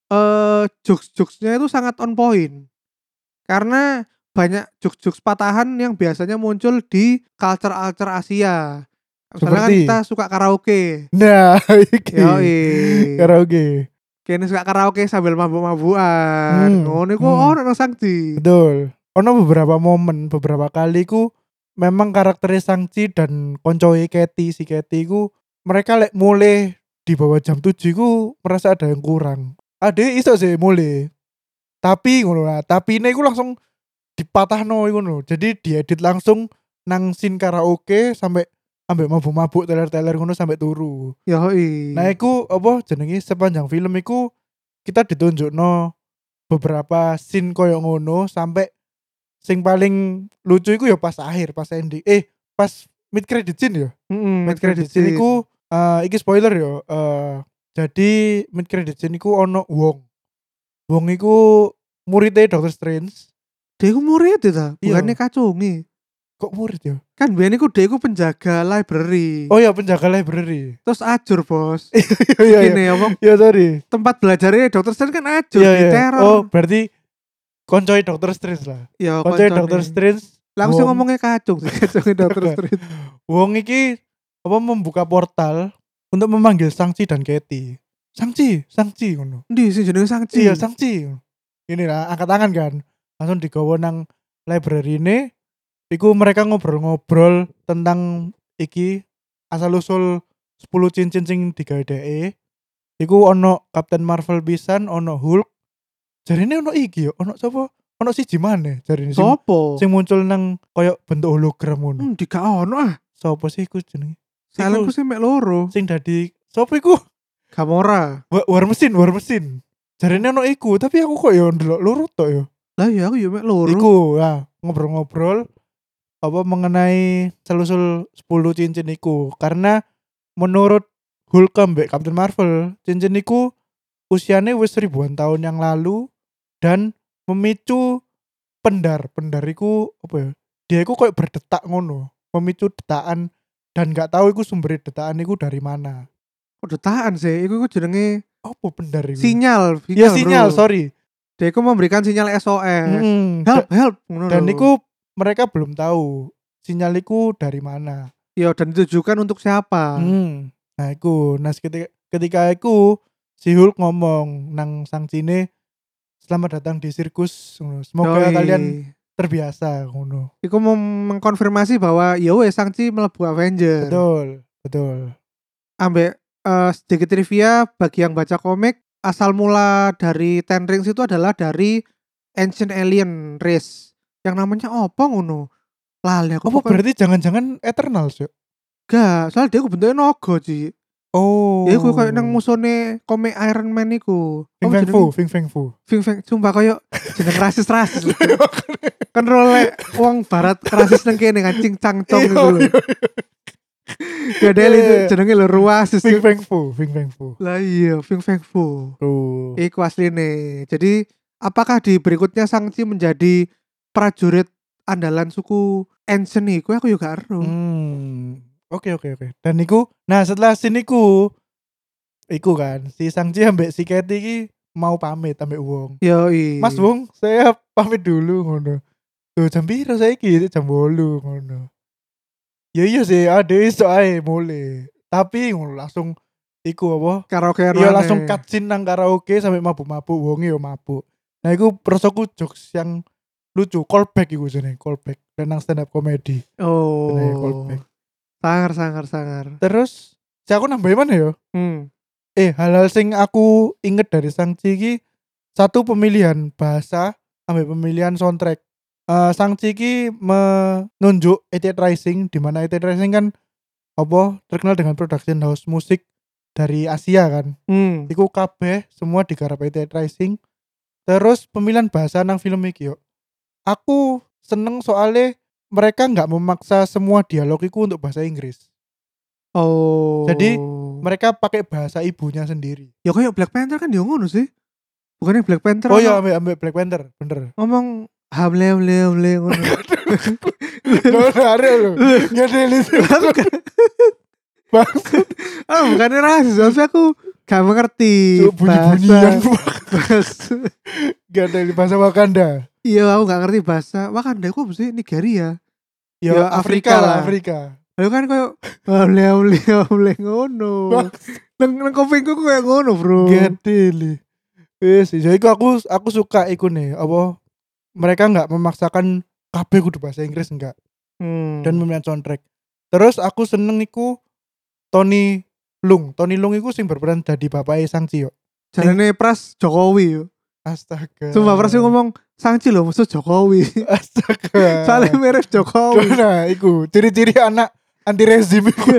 Speaker 1: eh jokes-jokesnya itu sangat on point. Karena banyak jokes-jokes patahan yang biasanya muncul di culture-culture Asia. Misalnya kan
Speaker 2: Seperti?
Speaker 1: kita suka karaoke.
Speaker 2: Nah, iki.
Speaker 1: Yoi.
Speaker 2: Ya, Karaoke.
Speaker 1: Kayaknya suka karaoke sambil mabuk-mabukan.
Speaker 2: Hmm,
Speaker 1: Ngono iku
Speaker 2: hmm.
Speaker 1: ono nang Sangchi.
Speaker 2: Betul. Ono beberapa momen, beberapa kali ku memang karakternya Sangchi dan koncoe Keti si Keti ku mereka lek mulai di bawah jam 7 ku merasa ada yang kurang. Ade iso sih mulai. Tapi ngono lah, tapi ini ku langsung dipatahno iku lho. Jadi diedit langsung nang scene karaoke sampai ambek mabuk-mabuk teler-teler ngono sampai turu.
Speaker 1: Yoi.
Speaker 2: Nah, iku apa jenenge sepanjang film iku kita ditunjukno beberapa scene koyo ngono sampai sing paling lucu iku ya pas akhir, pas ending. Eh, pas mid credit scene ya.
Speaker 1: Mm-mm,
Speaker 2: Mid credit scene iku eh, iki spoiler ya. eh, jadi mid credit scene iku ono Wong. Wong iku muridnya Doctor Strange.
Speaker 1: dia iku murid itu ta,
Speaker 2: Iya.
Speaker 1: bukannya kacungi.
Speaker 2: Kok murid ya?
Speaker 1: Kan biyen iku dia iku penjaga library.
Speaker 2: Oh ya penjaga library.
Speaker 1: Terus ajur, Bos.
Speaker 2: Iya iya. iya.
Speaker 1: Ini apa
Speaker 2: Iya sorry.
Speaker 1: tempat belajarnya dokter Strange kan ajur
Speaker 2: Iya,
Speaker 1: di
Speaker 2: iya.
Speaker 1: teror.
Speaker 2: Oh, berarti koncoi Doctor Strange lah.
Speaker 1: ya
Speaker 2: Koncoi
Speaker 1: koncone.
Speaker 2: Doctor Strange Oh. Iya.
Speaker 1: Langsung
Speaker 2: Wong.
Speaker 1: ngomongnya kacung, sih, kacungnya dokter Strange.
Speaker 2: wong iki apa membuka portal untuk memanggil Sangci dan Katie. Sangci, Sangci ngono.
Speaker 1: Ndi sih jenenge Sangci.
Speaker 2: Iya, Sangci. Ini lah angkat tangan kan. Langsung digawa nang library ini iku mereka ngobrol-ngobrol tentang iki asal-usul 10 cincin sing digawe Iku ono Captain Marvel pisan, ono Hulk. Jarine ono iki ya, ono sapa? Ono siji maneh jarine sing,
Speaker 1: Sopo?
Speaker 2: sing muncul nang koyo bentuk hologram ngono.
Speaker 1: Hmm, di gak ono ah.
Speaker 2: Sopo sih iku jenenge?
Speaker 1: Silentku sih mek loro.
Speaker 2: sing dadi sopo iku
Speaker 1: Gamora.
Speaker 2: Wa- war mesin war mesin jarine ono iku tapi aku kok ya ndelok lurut tok ya
Speaker 1: Lah ya aku ya mek loro.
Speaker 2: iku ya ngobrol-ngobrol apa mengenai selusul 10 cincin iku karena menurut Hulk ambek Captain Marvel cincin iku usianya wis ribuan tahun yang lalu dan memicu pendar pendar iku apa ya dia iku kayak berdetak ngono memicu detaan dan nggak tahu iku sumber detaan iku dari mana
Speaker 1: Oh, detaan sih. Iku iku jenenge
Speaker 2: apa bener ini?
Speaker 1: sinyal. sinyal
Speaker 2: ya sinyal
Speaker 1: bro. Nah,
Speaker 2: sorry
Speaker 1: Dia iku memberikan sinyal SOS.
Speaker 2: Mm,
Speaker 1: Help,
Speaker 2: da-
Speaker 1: help. Ngono
Speaker 2: dan
Speaker 1: lho.
Speaker 2: niku mereka belum tahu sinyal iku dari mana
Speaker 1: ya dan ditujukan untuk siapa?
Speaker 2: Mm. nah iku nah ketika ketika iku si Hulk ngomong nang sang cine selamat datang di sirkus ngono. semoga
Speaker 1: Yoi.
Speaker 2: kalian terbiasa ngono
Speaker 1: Iku mau mengkonfirmasi bahwa ya wes Sangchi melebu Avenger.
Speaker 2: betul betul
Speaker 1: Ambek eh, sedikit trivia bagi yang baca komik, asal mula dari Ten Rings itu adalah dari ancient alien race yang namanya apa ngono? Lali aku
Speaker 2: apa
Speaker 1: pokoknya-
Speaker 2: berarti jangan-jangan eternal sih
Speaker 1: Gak, soalnya dia aku bentuknya naga Ci.
Speaker 2: oh
Speaker 1: Ya aku kayak nang musone komik Iron Man iku.
Speaker 2: Fing
Speaker 1: Apa
Speaker 2: Fang Fu
Speaker 1: jenenge?
Speaker 2: Fing Fang Fu
Speaker 1: Fing Fang, sumpah koyo jeneng rasis-rasis.
Speaker 2: Iya,
Speaker 1: kan role wong barat rasis nang kene kan cing cangcong
Speaker 2: Iya,
Speaker 1: gitu lho.
Speaker 2: iya,
Speaker 1: Ya
Speaker 2: Iya,
Speaker 1: Deli
Speaker 2: iya.
Speaker 1: jenenge lho ruasis.
Speaker 2: Fing Fang Fu Fing Fang Fu
Speaker 1: Lah iya, Fing Feng Fu.
Speaker 2: tuh
Speaker 1: Iku asline. Jadi apakah di berikutnya Sangchi menjadi prajurit andalan suku Ancient iku aku juga gak ero.
Speaker 2: Hmm. Oke oke oke. Dan niku, nah setelah siniku, iku kan si Sangji ambek si Kathy iki mau pamit ambek Wong.
Speaker 1: Yoi.
Speaker 2: Mas Wong, saya pamit dulu ngono. Tuh jam piro saiki? Jam 8 ngono. Ya iya sih, ada iso ae mule. Tapi ngono langsung iku apa?
Speaker 1: karaoke
Speaker 2: Iya langsung cutscene nang karaoke sampai mabuk-mabuk, wonge yo mabuk. Nah iku prosoku jokes yang lucu, callback iku jenenge, callback dan nang stand up comedy. Jenenge
Speaker 1: Oh.
Speaker 2: callback.
Speaker 1: Sangar sangar sangar.
Speaker 2: Terus si aku nambahin mana ya?
Speaker 1: Hmm.
Speaker 2: Eh hal-hal sing aku inget dari Sangci iki satu pemilihan bahasa sampai pemilihan soundtrack. Eh Sangci iki menunjuk 88 Rising di mana 88 Rising kan apa terkenal dengan production house musik dari Asia kan.
Speaker 1: Hmm.
Speaker 2: Iku kabeh semua digarap 88 Rising. Terus pemilihan bahasa nang film iki yo. Aku seneng soalnya mereka nggak memaksa semua dialog iku untuk bahasa Inggris.
Speaker 1: Oh.
Speaker 2: Jadi, mereka pakai bahasa ibunya sendiri.
Speaker 1: ya kayak Black Panther kan dia ngono sih. Bukannya Black Panther
Speaker 2: Oh iya
Speaker 1: ono-
Speaker 2: ambil, ambil Black Panther, bener.
Speaker 1: ngomong hamle hamle hamle ngono.
Speaker 2: Loh, ada loh. Nyadeli sih. Maksud
Speaker 1: Oh, bukannya rasis, maksudnya aku gak mengerti
Speaker 2: bunyi-bunyian.
Speaker 1: bahasa.
Speaker 2: Nyadeli bahasa Wakanda.
Speaker 1: Iya, aku gak ngerti bahasa. Wakanda aku apa sih? Nigeria.
Speaker 2: Ya,
Speaker 1: Ya, Afrika
Speaker 2: Afrika, lah,
Speaker 1: lah.
Speaker 2: Afrika.
Speaker 1: Lalu kan kayak hamle hamle hamle ngono. Neng neng kupingku kayak ngono,
Speaker 2: Oh.
Speaker 1: Bro.
Speaker 2: Nyadeli. Wis, jadi aku aku aku suka iku nih, apa mereka nggak memaksakan kabeh kudu bahasa Inggris enggak
Speaker 1: Hmm.
Speaker 2: dan pemilihan soundtrack. Terus aku seneng iku Tony Lung. Tony Lung iku sing berperan jadi bapaknya Sang Cio.
Speaker 1: jarane pras Jokowi yo.
Speaker 2: Astaga.
Speaker 1: Sumpah pras yang ngomong Sangci loh musuh Jokowi.
Speaker 2: Astaga.
Speaker 1: Saling mirip Jokowi.
Speaker 2: Nah, iku ciri-ciri anak anti rezim iku.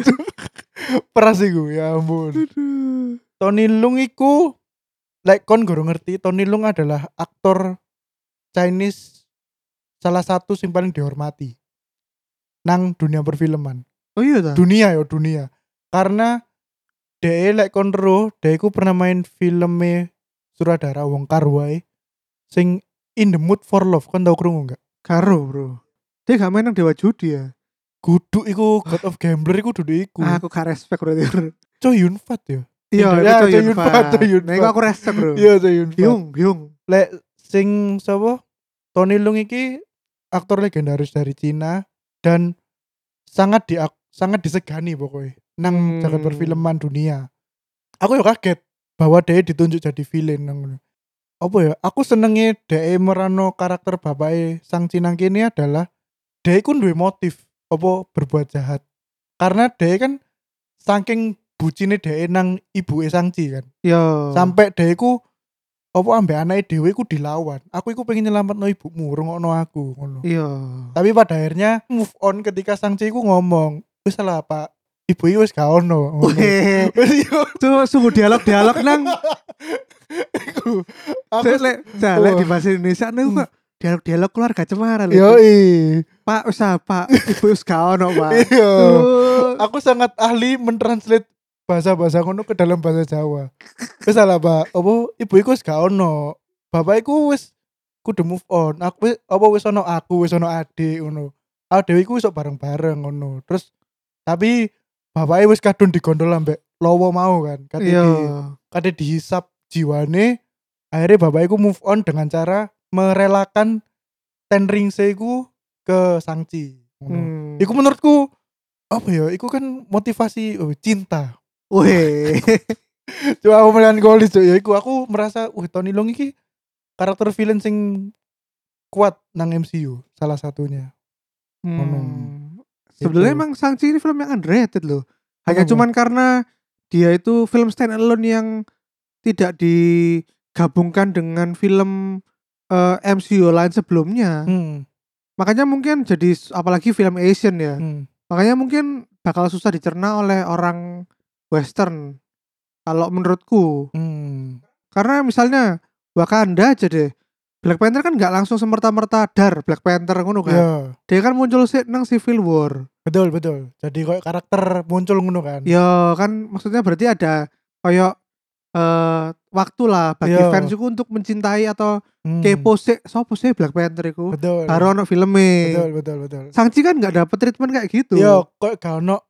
Speaker 2: Peras iku, ya ampun.
Speaker 1: Aduh.
Speaker 2: Tony Lung iku like kon guru ngerti Tony Lung adalah aktor Chinese salah satu sing paling dihormati nang dunia perfilman
Speaker 1: Oh iya ta.
Speaker 2: dunia ya dunia karena de lek kon ro de iku pernah main filmnya Suradara Wong Kar Wai sing In the Mood for Love kon tau krungu enggak
Speaker 1: Karo, Bro. Dia gak main nang Dewa Judi ya.
Speaker 2: Kudu iku God of Gambler iku dudu iku
Speaker 1: Ah, aku gak respect berarti.
Speaker 2: Choi Yun Fat ya
Speaker 1: Iya,
Speaker 2: Ya,
Speaker 1: itu
Speaker 2: Choi
Speaker 1: Yun
Speaker 2: Yun Fat,
Speaker 1: Fat.
Speaker 2: Choi Yun
Speaker 1: Nah, iku
Speaker 2: Fat.
Speaker 1: aku respect, Bro.
Speaker 2: iya Choi Yun Fat
Speaker 1: Hyung, Hyung.
Speaker 2: lek sing sapa Tony Lung iki aktor legendaris dari Cina dan sangat di sangat disegani pokoknya nang
Speaker 1: Hmm.
Speaker 2: jagat perfilman dunia aku yo kaget bahwa dia ditunjuk jadi villain nang ngono. apa ya aku senenge dia merano karakter bapaknya sang Cina kini adalah dia iku duwe motif apa berbuat jahat karena dia kan saking bucine dia nang ibu sangci kan
Speaker 1: Yo.
Speaker 2: sampai dhewe ku apa ambek anake dhewe ku dilawan. Aku iku pengen nyelametno ibumu, rungokno aku ngono.
Speaker 1: Iya.
Speaker 2: Tapi pada akhirnya move on ketika sang ciku ngomong, wis lah Pak, ibu iki wis gak ono. ngono.
Speaker 1: Weh,
Speaker 2: Wis yo,
Speaker 1: tuh sungguh dialog-dialog nang
Speaker 2: iku. Aku
Speaker 1: Saya lek nah, lek di bahasa Indonesia nih
Speaker 2: Hmm.
Speaker 1: kok dialog-dialog keluarga cemara lho.
Speaker 2: yo
Speaker 1: Pak usah Pak, Ibu wis gak ono, Pak.
Speaker 2: Iya.
Speaker 1: Tuh.
Speaker 2: Aku sangat ahli mentranslate bahasa-bahasa ngono ke dalam bahasa Jawa. Wis lah Pak, apa ibu iku wis gak ono. Bapak iku wis kudu move on. Aku wis- apa wis ono aku, wis ono adik ngono. Aku dhewe iku wis bareng-bareng ngono. Terus tapi bapaknya wis kadung digondol ambek lowo mau kan. Kate
Speaker 1: Iya.
Speaker 2: di kate dihisap jiwane. Akhirnya bapak iku move on dengan cara merelakan ten ringse iku ke sangci. Ngono.
Speaker 1: Hmm.
Speaker 2: Iku menurutku apa ya? Iku kan motivasi oh, cinta.
Speaker 1: Weh.
Speaker 2: Coba aku melankolis Cuk. ya. Iku aku merasa, wah Tony Long iki karakter villain sing kuat nang MCU salah satunya.
Speaker 1: Hmm. Sebenarnya
Speaker 2: Itu.
Speaker 1: emang Shang-Chi ini film yang underrated loh. Hanya
Speaker 2: gitu. Kenapa?
Speaker 1: cuman karena dia itu film stand alone yang tidak digabungkan dengan film eh, MCU lain sebelumnya.
Speaker 2: Hmm.
Speaker 1: Makanya mungkin jadi s- apalagi film Asian ya.
Speaker 2: hmm.
Speaker 1: Makanya mungkin bakal susah dicerna oleh orang western. Kalau menurutku,
Speaker 2: hmm.
Speaker 1: karena misalnya Wakanda aja deh. Black Panther kan nggak langsung semerta-merta dar Black Panther ngono kan.
Speaker 2: Ya,
Speaker 1: Dia kan muncul sih nang Civil War.
Speaker 2: betul betul. Jadi kayak karakter muncul ngono kan.
Speaker 1: Ya kan maksudnya berarti ada kayak eh waktu lah bagi
Speaker 2: Iya.
Speaker 1: fans itu untuk mencintai atau
Speaker 2: Hmm.
Speaker 1: kepo sih sopo sih Black Panther itu
Speaker 2: Betul.
Speaker 1: baru ono filmnya
Speaker 2: Betul Iya. betul betul.
Speaker 1: Sangchi kan nggak dapet treatment kayak gitu
Speaker 2: Yo, kok gak ono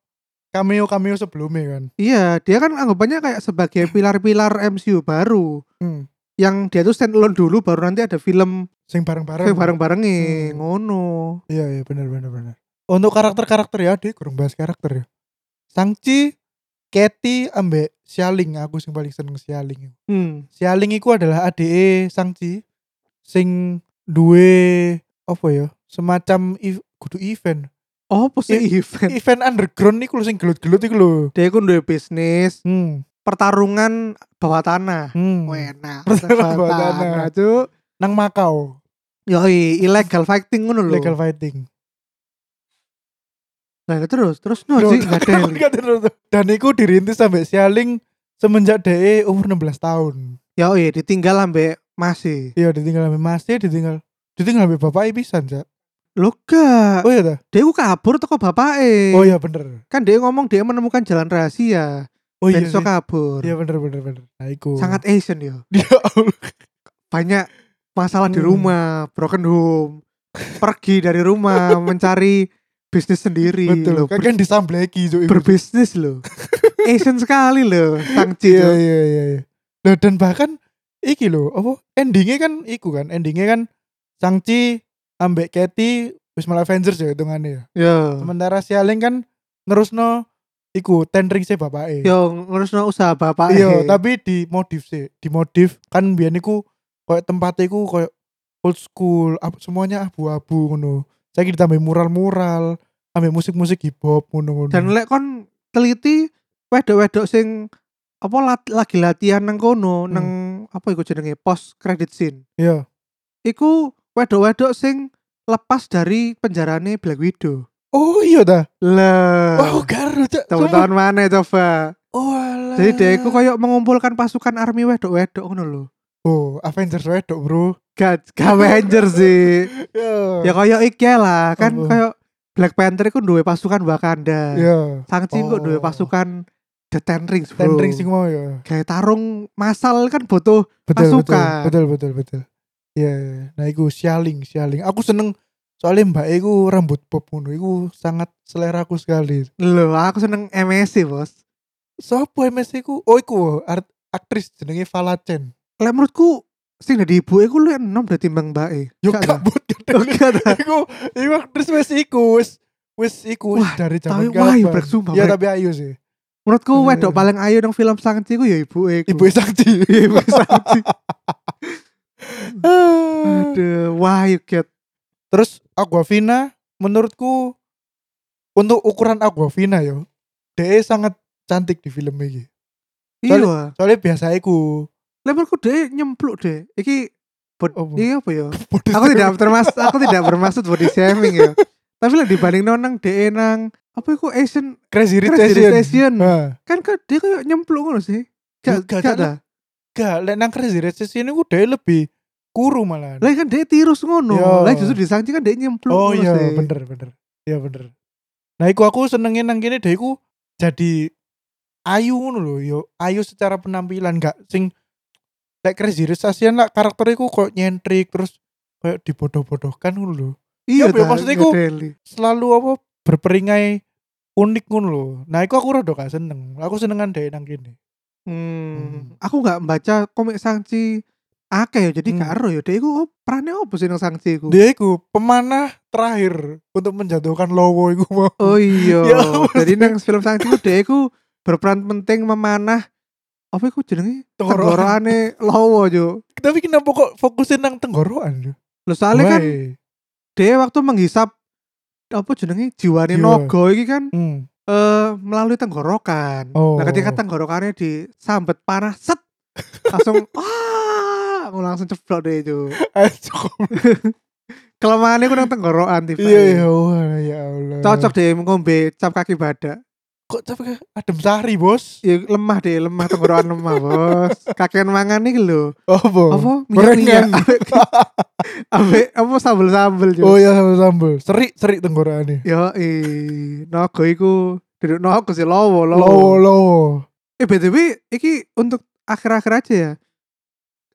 Speaker 2: cameo-cameo sebelumnya kan.
Speaker 1: iya dia kan anggapannya kayak sebagai pilar-pilar MCU baru
Speaker 2: Hmm.
Speaker 1: yang dia tuh stand alone dulu baru nanti ada film
Speaker 2: Sing bareng-bareng.
Speaker 1: bareng barengnya
Speaker 2: Hmm.
Speaker 1: ngono
Speaker 2: Iya iya benar benar benar. Untuk karakter-karakter ya, dia kurang bahas karakter ya. Sangci, Katy ambek Sialing aku sing paling seneng Sialing.
Speaker 1: hmm.
Speaker 2: Sialing iku adalah adike Sangci sing duwe apa ya? Semacam ev- kudu event.
Speaker 1: oh sih
Speaker 2: I-
Speaker 1: event
Speaker 2: event underground iku lho sing gelut-gelut iku lho.
Speaker 1: dia kan dua bisnis
Speaker 2: Hmm.
Speaker 1: pertarungan bawah tanah
Speaker 2: hmm.
Speaker 1: Wena,
Speaker 2: Pertarungan bawah tanah.
Speaker 1: Cuk.
Speaker 2: Nang Makau,
Speaker 1: Yoi, illegal fighting ngono lho.
Speaker 2: legal fighting.
Speaker 1: Nah, terus terus no
Speaker 2: Loh,
Speaker 1: sih enggak ada. yang-
Speaker 2: Gak ada, lho. Dan iku dirintis sampai Sialing semenjak DE umur 16 tahun.
Speaker 1: Yoi, ditinggal ambek masih.
Speaker 2: Iya ditinggal sama masnya ditinggal ditinggal sama bapak pisan cak.
Speaker 1: Lho gak.
Speaker 2: Oh iya dah.
Speaker 1: Dia ku kabur teko bapake.
Speaker 2: Oh iya bener.
Speaker 1: Kan dia ngomong dia menemukan jalan rahasia.
Speaker 2: Oh iya.
Speaker 1: Besok
Speaker 2: sih.
Speaker 1: kabur.
Speaker 2: Iya bener bener bener. Nah iku. Ya
Speaker 1: Sangat Asian yo.
Speaker 2: dia
Speaker 1: Banyak masalah di
Speaker 2: Hmm.
Speaker 1: rumah, broken home. Pergi dari rumah mencari bisnis sendiri
Speaker 2: betul.
Speaker 1: loh.
Speaker 2: Kan
Speaker 1: Ber-
Speaker 2: kan disambleki cuk. iku.
Speaker 1: berbisnis loh. Asian sekali loh Sang Ci.
Speaker 2: Iya
Speaker 1: Cuk.
Speaker 2: iya iya. iya. Loh dan bahkan iki lho apa endingnya kan iku kan endingnya kan Sangci ambek Katy wis malah Avengers ya hitungannya ya.
Speaker 1: Yo.
Speaker 2: Sementara Sialing kan ngerusno iku tendring sih bapake.
Speaker 1: Yo ngurusno usaha bapak.
Speaker 2: Iya, tapi di modif sih, di modif kan biar niku kayak tempatnya iku kayak old school, ap- semuanya abu-abu ngono. Saiki ditambah mural-mural, ambil musik-musik hip hop ngono ngono.
Speaker 1: dan lek kon teliti wedok-wedok sing apa lat-
Speaker 2: Hmm.
Speaker 1: lagi latihan nang kono nang apa iku jenenge post credit scene
Speaker 2: iya,
Speaker 1: iku wedok-wedok sing lepas dari penjarane Black Widow.
Speaker 2: Oh iya dah.
Speaker 1: Lah.
Speaker 2: Wow, karo cak.
Speaker 1: tahun-tahun mana coba?
Speaker 2: Oh alah.
Speaker 1: Jadi dia iku koyok mengumpulkan pasukan army wedok-wedok ngono lho.
Speaker 2: Oh, Avengers wedok, Bro.
Speaker 1: Gak Avenger sih. Ya
Speaker 2: Ya.
Speaker 1: koyok iki lah, kan
Speaker 2: Apa?
Speaker 1: koyok Black Panther iku duwe pasukan Wakanda.
Speaker 2: Ya.
Speaker 1: Shang-Chi iku duwe
Speaker 2: Oh.
Speaker 1: pasukan The Ten Rings, bro.
Speaker 2: Ten Rings sing mau ya.
Speaker 1: Kayak tarung masal kan butuh
Speaker 2: Betul,
Speaker 1: Pasukan.
Speaker 2: betul, betul, betul, betul. Ya, ya. nah iku sialing, sialing. Aku seneng soalnya Mbak iku rambut bob ngono iku sangat selera aku sekali.
Speaker 1: Loh, aku seneng MSC, Bos.
Speaker 2: Sopo MS iku? Oh iku art, aktris jenenge Falacen.
Speaker 1: Lek menurutku sing dadi ibu iku lu enom dadi mbang mbake.
Speaker 2: Yo
Speaker 1: Gak ta?
Speaker 2: kabut
Speaker 1: Oh, gak ta?
Speaker 2: iku iku aktris wis iku wis wis iku wis
Speaker 1: Wah,
Speaker 2: dari
Speaker 1: tapi
Speaker 2: zaman
Speaker 1: wah,
Speaker 2: kapan.
Speaker 1: Brek, sumpah,
Speaker 2: Ya
Speaker 1: Brek.
Speaker 2: tapi ayu sih.
Speaker 1: Menurutku
Speaker 2: Bener.
Speaker 1: wedok paling ayu nang film Shang-Chi ku ya ibu iku.
Speaker 2: Iya, Ibu Sakti.
Speaker 1: ibu Shang-Chi. Aduh, wah you get.
Speaker 2: Terus Aquafina menurutku untuk ukuran Aquafina yo, DE sangat cantik di film ini.
Speaker 1: Iya.
Speaker 2: Soalnya biasa iku.
Speaker 1: Lek menurutku deh nyempluk deh. Iki bod,
Speaker 2: Apa?
Speaker 1: iki apa ya?
Speaker 2: body
Speaker 1: Aku
Speaker 2: shaming.
Speaker 1: tidak bermaksud aku tidak bermaksud body shaming ya. Tapi lek dibanding nang deh nang apa iku Asian
Speaker 2: crazy rich
Speaker 1: Crazy Rich Asian.
Speaker 2: Asian. Nah,
Speaker 1: Kan ke dia kayak nyempluk ngono sih. Gak gak
Speaker 2: Gak, kan.
Speaker 1: ada.
Speaker 2: gak, lek nang crazy rich Asian iku DE lebih kuru malah.
Speaker 1: Lah kan dia tirus ngono.
Speaker 2: Yo.
Speaker 1: Lah justru di Shang-Chi kan dia nyemplung.
Speaker 2: Oh
Speaker 1: ngono
Speaker 2: iya,
Speaker 1: sih.
Speaker 2: bener bener. Iya bener. Nah, iku aku senengin nang kene deh iku jadi ayu ngono lho, yo ayu secara penampilan gak sing like Crazy Rich Asian lah karakter iku kok nyentrik terus kayak dibodoh-bodohkan ngono lho.
Speaker 1: Iya,
Speaker 2: Apa ya,
Speaker 1: ta,
Speaker 2: maksudnya iku-
Speaker 1: ngedeli.
Speaker 2: Selalu apa berperingai unik ngono lho. Nah, iku aku rada gak seneng. Aku senengan deh nang kene.
Speaker 1: Hmm.
Speaker 2: Hmm.
Speaker 1: Aku nggak membaca komik Sangchi akeh ya, jadi
Speaker 2: Hmm.
Speaker 1: gak ero ya. Dia iku perannya apa sih nang Sangchi iku?
Speaker 2: Dia iku pemanah terakhir untuk menjatuhkan Lowo iku mau.
Speaker 1: Oh iya.
Speaker 2: Ya, apa
Speaker 1: jadi nang film Sangchi iku dia iku berperan penting memanah apa iku jenenge?
Speaker 2: Tenggorokan.
Speaker 1: Tenggorokane lawa yo.
Speaker 2: Tapi kenapa kok fokusin nang tenggorokan?
Speaker 1: Lho soalnya kan
Speaker 2: Weh.
Speaker 1: dia waktu menghisap apa jenenge jiwane
Speaker 2: Jiwa.
Speaker 1: naga iki kan
Speaker 2: Hmm.
Speaker 1: eh melalui tenggorokan.
Speaker 2: Oh.
Speaker 1: Nah, ketika tenggorokannya disambet panas set langsung wah, aku langsung ceplok deh itu.
Speaker 2: Eh, cukup.
Speaker 1: Kelemahannya kurang tenggorokan tiba.
Speaker 2: Iya ya Allah ya Allah.
Speaker 1: Cocok deh ngombe cap kaki badak.
Speaker 2: Kok tapi adem sari bos.
Speaker 1: Ya lemah deh, lemah tenggorokan lemah, Bos. Kakean mangan nih lho.
Speaker 2: Apa? Iya,
Speaker 1: Apa?
Speaker 2: Oh. Gorengan.
Speaker 1: Abe apa sambel-sambel yo.
Speaker 2: Oh ya sambal sambal. Seri seri tenggorokannya.
Speaker 1: Yo, eh, naga iku duduk naga sih lowo lowo.
Speaker 2: Lowo lowo.
Speaker 1: Eh BTW iki untuk akhir-akhir aja ya.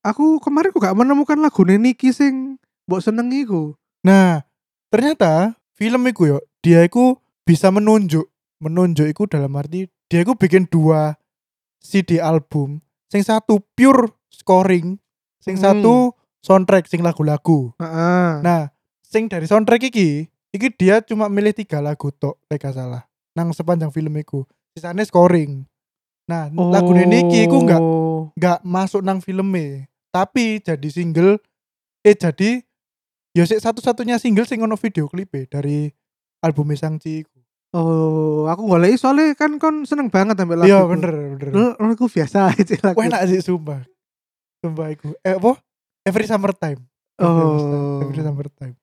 Speaker 1: Aku kemarin kok gak menemukan lagu Niki sing mbok seneng iku.
Speaker 2: Nah ternyata film iku yo dia iku bisa menunjuk menunjuk iku dalam arti dia iku bikin dua CD album. Sing satu pure scoring, sing
Speaker 1: Hmm.
Speaker 2: satu soundtrack sing lagu-lagu.
Speaker 1: Heeh.
Speaker 2: Nah, sing dari soundtrack iki, iki dia cuma milih tiga lagu tok, lek gak salah. Nang sepanjang film iku. Sisanya scoring. Nah, lagu ini
Speaker 1: Oh.
Speaker 2: iki iku enggak enggak masuk nang filmnya, tapi jadi single eh jadi ya sik satu-satunya single sing ono video klip dari album Sangci iku.
Speaker 1: Oh, aku goleki soalnya kan kon seneng banget ambil lagu.
Speaker 2: Iya,
Speaker 1: iku.
Speaker 2: bener, bener.
Speaker 1: Lu lagu biasa aja lagu.
Speaker 2: Wah, enak sih sumpah. Sumpah iku. Eh apa? Every summer time.
Speaker 1: Oh.
Speaker 2: Every summer time.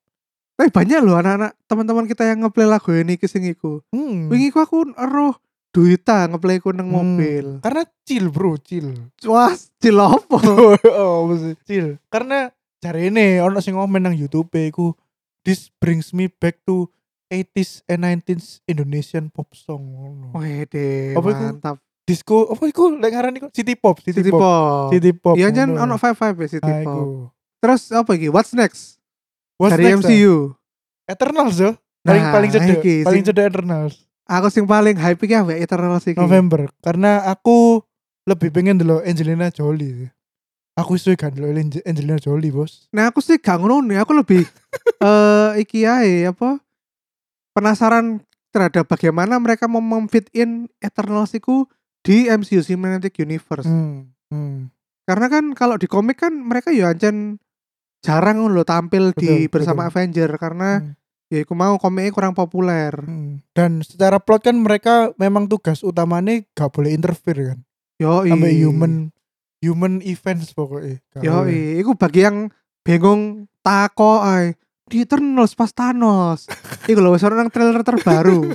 Speaker 1: Tapi banyak loh anak-anak teman-teman kita yang ngeplay lagu Niki sing iku.
Speaker 2: Hmm.
Speaker 1: Wingi ku aku eroh duita ngeplay ku nang
Speaker 2: Hmm.
Speaker 1: mobil.
Speaker 2: Karena chill, bro, chill.
Speaker 1: Wah, cilopo.
Speaker 2: oh, kecil. Karena cari ini ono sing komen nang YouTube iku this brings me back to 80s and 90s Indonesian pop song
Speaker 1: Oh.
Speaker 2: ngono.
Speaker 1: Wede,
Speaker 2: Apa iku?
Speaker 1: mantap.
Speaker 2: Disco apa iku lek ngaran iku city pop, city,
Speaker 1: City
Speaker 2: pop.
Speaker 1: Pop.
Speaker 2: City pop.
Speaker 1: Iya jan ono
Speaker 2: ngono.
Speaker 1: five five ya City
Speaker 2: Ah, iku.
Speaker 1: Pop. Terus apa iki? What's next?
Speaker 2: What's
Speaker 1: dari
Speaker 2: next, ah?
Speaker 1: MCU.
Speaker 2: Eternals yo. Paling
Speaker 1: Nah,
Speaker 2: paling cedek,
Speaker 1: iki,
Speaker 2: paling
Speaker 1: sing-
Speaker 2: cedek Eternals.
Speaker 1: Aku sing paling hype iki awake Eternals iki.
Speaker 2: November karena aku lebih pengen dulu Angelina Jolie. Aku iso gak dulu Angelina Jolie, Bos.
Speaker 1: Nah, aku sih gak ngono nih. aku lebih eh iki ae apa? Penasaran terhadap bagaimana mereka mau memfit in Eternals iku di MCU Cinematic Universe.
Speaker 2: Hmm. Hmm.
Speaker 1: Karena kan kalau di komik kan mereka ya ancen jarang loh tampil di
Speaker 2: Betul,
Speaker 1: bersama
Speaker 2: betul.
Speaker 1: Avenger karena
Speaker 2: Hmm.
Speaker 1: ya iku mau komiknya kurang populer.
Speaker 2: Hmm. Dan secara plot kan mereka memang tugas utamanya gak boleh interfere kan.
Speaker 1: Yo
Speaker 2: Sampai human human events pokoknya. Gak
Speaker 1: Yo,
Speaker 2: boleh.
Speaker 1: iku bagi yang bingung tako ay. Di Eternals pas Thanos. Iku lho wis ana nang trailer terbaru.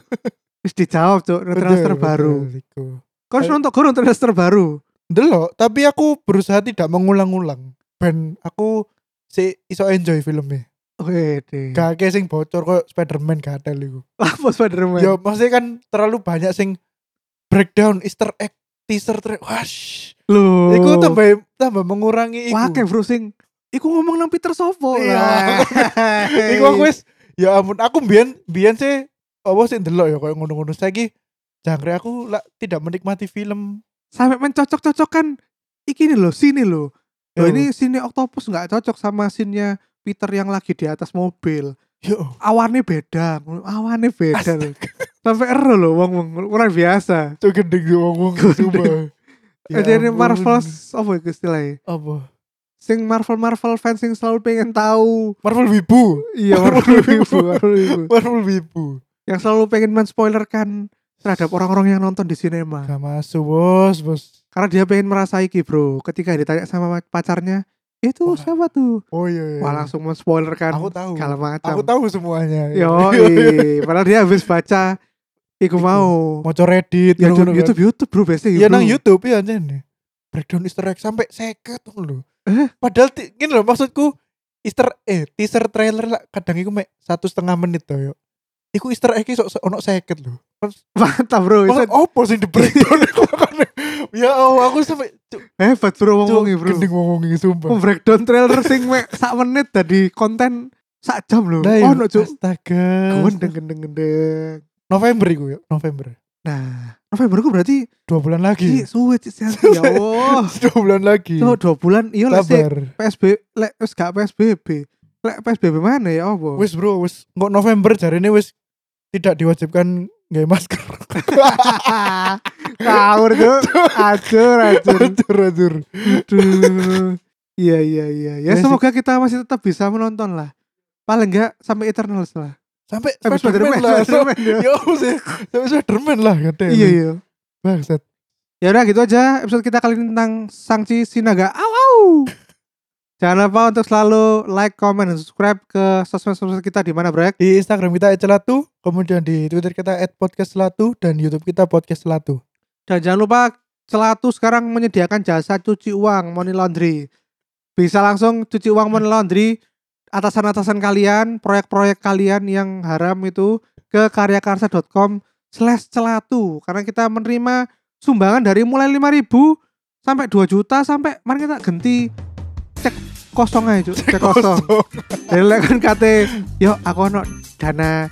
Speaker 1: Wis dijawab, Cuk, nang trailer
Speaker 2: Betul,
Speaker 1: terbaru.
Speaker 2: betul, iku.
Speaker 1: Kau harus nonton gurung trailer terbaru.
Speaker 2: Delok, tapi aku berusaha tidak mengulang-ulang. Ben aku si iso enjoy filmnya.
Speaker 1: Oke, deh.
Speaker 2: Gak kayak sing bocor kok Spiderman gak ada iku.
Speaker 1: Apa Spider-Man?
Speaker 2: Ya maksudnya kan terlalu banyak sing breakdown Easter egg teaser tra- wah shh.
Speaker 1: Loh.
Speaker 2: Iku tambah tambah mengurangi iku.
Speaker 1: Wake bro sing iku ngomong nang Peter Sopo
Speaker 2: Iya.
Speaker 1: lah.
Speaker 2: Iku aku wis ya ampun aku mbiyen mbiyen sih apa sih delok ya koyo ngono-ngono saiki jangkrik aku lah, tidak menikmati film.
Speaker 1: sampai mencocok-cocokan iki nih loh, sini loh. Loh
Speaker 2: Yo.
Speaker 1: ini sini Octopus nggak cocok sama sinnya Peter yang lagi di atas mobil.
Speaker 2: Yo.
Speaker 1: Awannya beda, awannya beda loh. Sampai ero loh wong wong luar biasa.
Speaker 2: Tuh gendeng yo wong coba.
Speaker 1: Ya Jadi Marvel apa itu istilahnya?
Speaker 2: apa?
Speaker 1: Sing Marvel Marvel fans yang selalu pengen tahu.
Speaker 2: Marvel Wibu.
Speaker 1: Iya Marvel
Speaker 2: Marvel Wibu.
Speaker 1: Wibu, Marvel Wibu.
Speaker 2: Marvel Wibu.
Speaker 1: Yang selalu pengen menspoilerkan terhadap orang-orang yang nonton di sinema.
Speaker 2: Gak masuk bos, bos.
Speaker 1: Karena dia pengen merasa iki bro Ketika ditanya sama pacarnya Itu
Speaker 2: Wah.
Speaker 1: siapa tuh
Speaker 2: Oh iya. iya.
Speaker 1: Wah langsung men-spoiler kan
Speaker 2: Aku tahu.
Speaker 1: Kalau macam
Speaker 2: Aku tahu semuanya.
Speaker 1: Yoi Padahal dia habis baca Iku mau
Speaker 2: Moco Reddit.
Speaker 1: Ya YouTube,
Speaker 2: ngono-ngono kan.
Speaker 1: YouTube, YouTube bro biasanya
Speaker 2: Ya
Speaker 1: bro.
Speaker 2: nang YouTube ya anjen. Breakdown Easter egg sampai seket tuh lho.
Speaker 1: Eh?
Speaker 2: Padahal ti- gini loh maksudku Easter eh teaser trailer lah kadang iku mek satu setengah menit tuh yo. Iku Easter egg iso ono seket lho.
Speaker 1: Mantap bro Itu
Speaker 2: Maksud opo sing di breakdown iku makanya. Ya Allah aku sampai cuk,
Speaker 1: Hebat Eh, bro ngomongnya bro
Speaker 2: cuk,
Speaker 1: Oh,
Speaker 2: gendeng ngomongi sumpah.
Speaker 1: Breakdown trailer sing mek sak menit dari konten sak jam loh
Speaker 2: Nah, iya. Nah,
Speaker 1: Oh no cuk
Speaker 2: astaga.
Speaker 1: Gendeng gendeng gendeng
Speaker 2: November iku yo, November.
Speaker 1: Nah November ku berarti
Speaker 2: Dua bulan lagi.
Speaker 1: Ih suwe Cik, Sianti. Ya Allah
Speaker 2: Dua bulan lagi.
Speaker 1: Cuk, dua bulan Iya lah sih
Speaker 2: Sabar.
Speaker 1: PSB lek wis gak PSBB. Lek PSBB mana ya apa?
Speaker 2: Wis bro, wis kok November jarine wis tidak diwajibkan nggak masker.
Speaker 1: Ngawur tuh. Acur acur.
Speaker 2: Atur atur.
Speaker 1: Aduh. Iya iya iya. Ya
Speaker 2: Ya, sih.
Speaker 1: semoga kita masih tetap bisa menonton lah. Paling enggak sampai Eternals lah.
Speaker 2: Sampai
Speaker 1: Eh,
Speaker 2: Spiderman lah.
Speaker 1: Spiderman, ya.
Speaker 2: Ya Allah sih. Sampai Spiderman lah kata.
Speaker 1: Iya iya.
Speaker 2: Bangsat.
Speaker 1: Ya udah gitu aja episode kita kali ini tentang Sangchi Sinaga. Au au. Jangan lupa untuk selalu like, comment, dan subscribe ke sosmed-sosmed kita di mana, Brek.
Speaker 2: Di Instagram kita @celatu, kemudian di Twitter kita @podcastcelatu dan YouTube kita podcastcelatu.
Speaker 1: Dan jangan lupa Celatu sekarang menyediakan jasa cuci uang money laundry. Bisa langsung cuci uang money laundry atasan-atasan kalian, proyek-proyek kalian yang haram itu ke karyakarsa.com slash celatu karena kita menerima sumbangan dari mulai 5000 sampai 2 juta sampai mari kita ganti cek kosong aja Cuk. cek kosong dari lek kan kate yo aku ono dana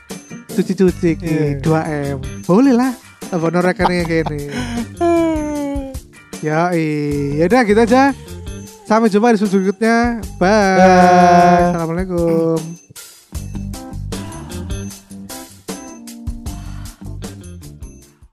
Speaker 1: cuci-cuci
Speaker 2: Iya.
Speaker 1: iki 2M boleh lah Abono rekeningnya gini Ya, iya udah gitu aja. Sampai jumpa di episode berikutnya. Bye.
Speaker 2: Bye.
Speaker 1: Assalamualaikum.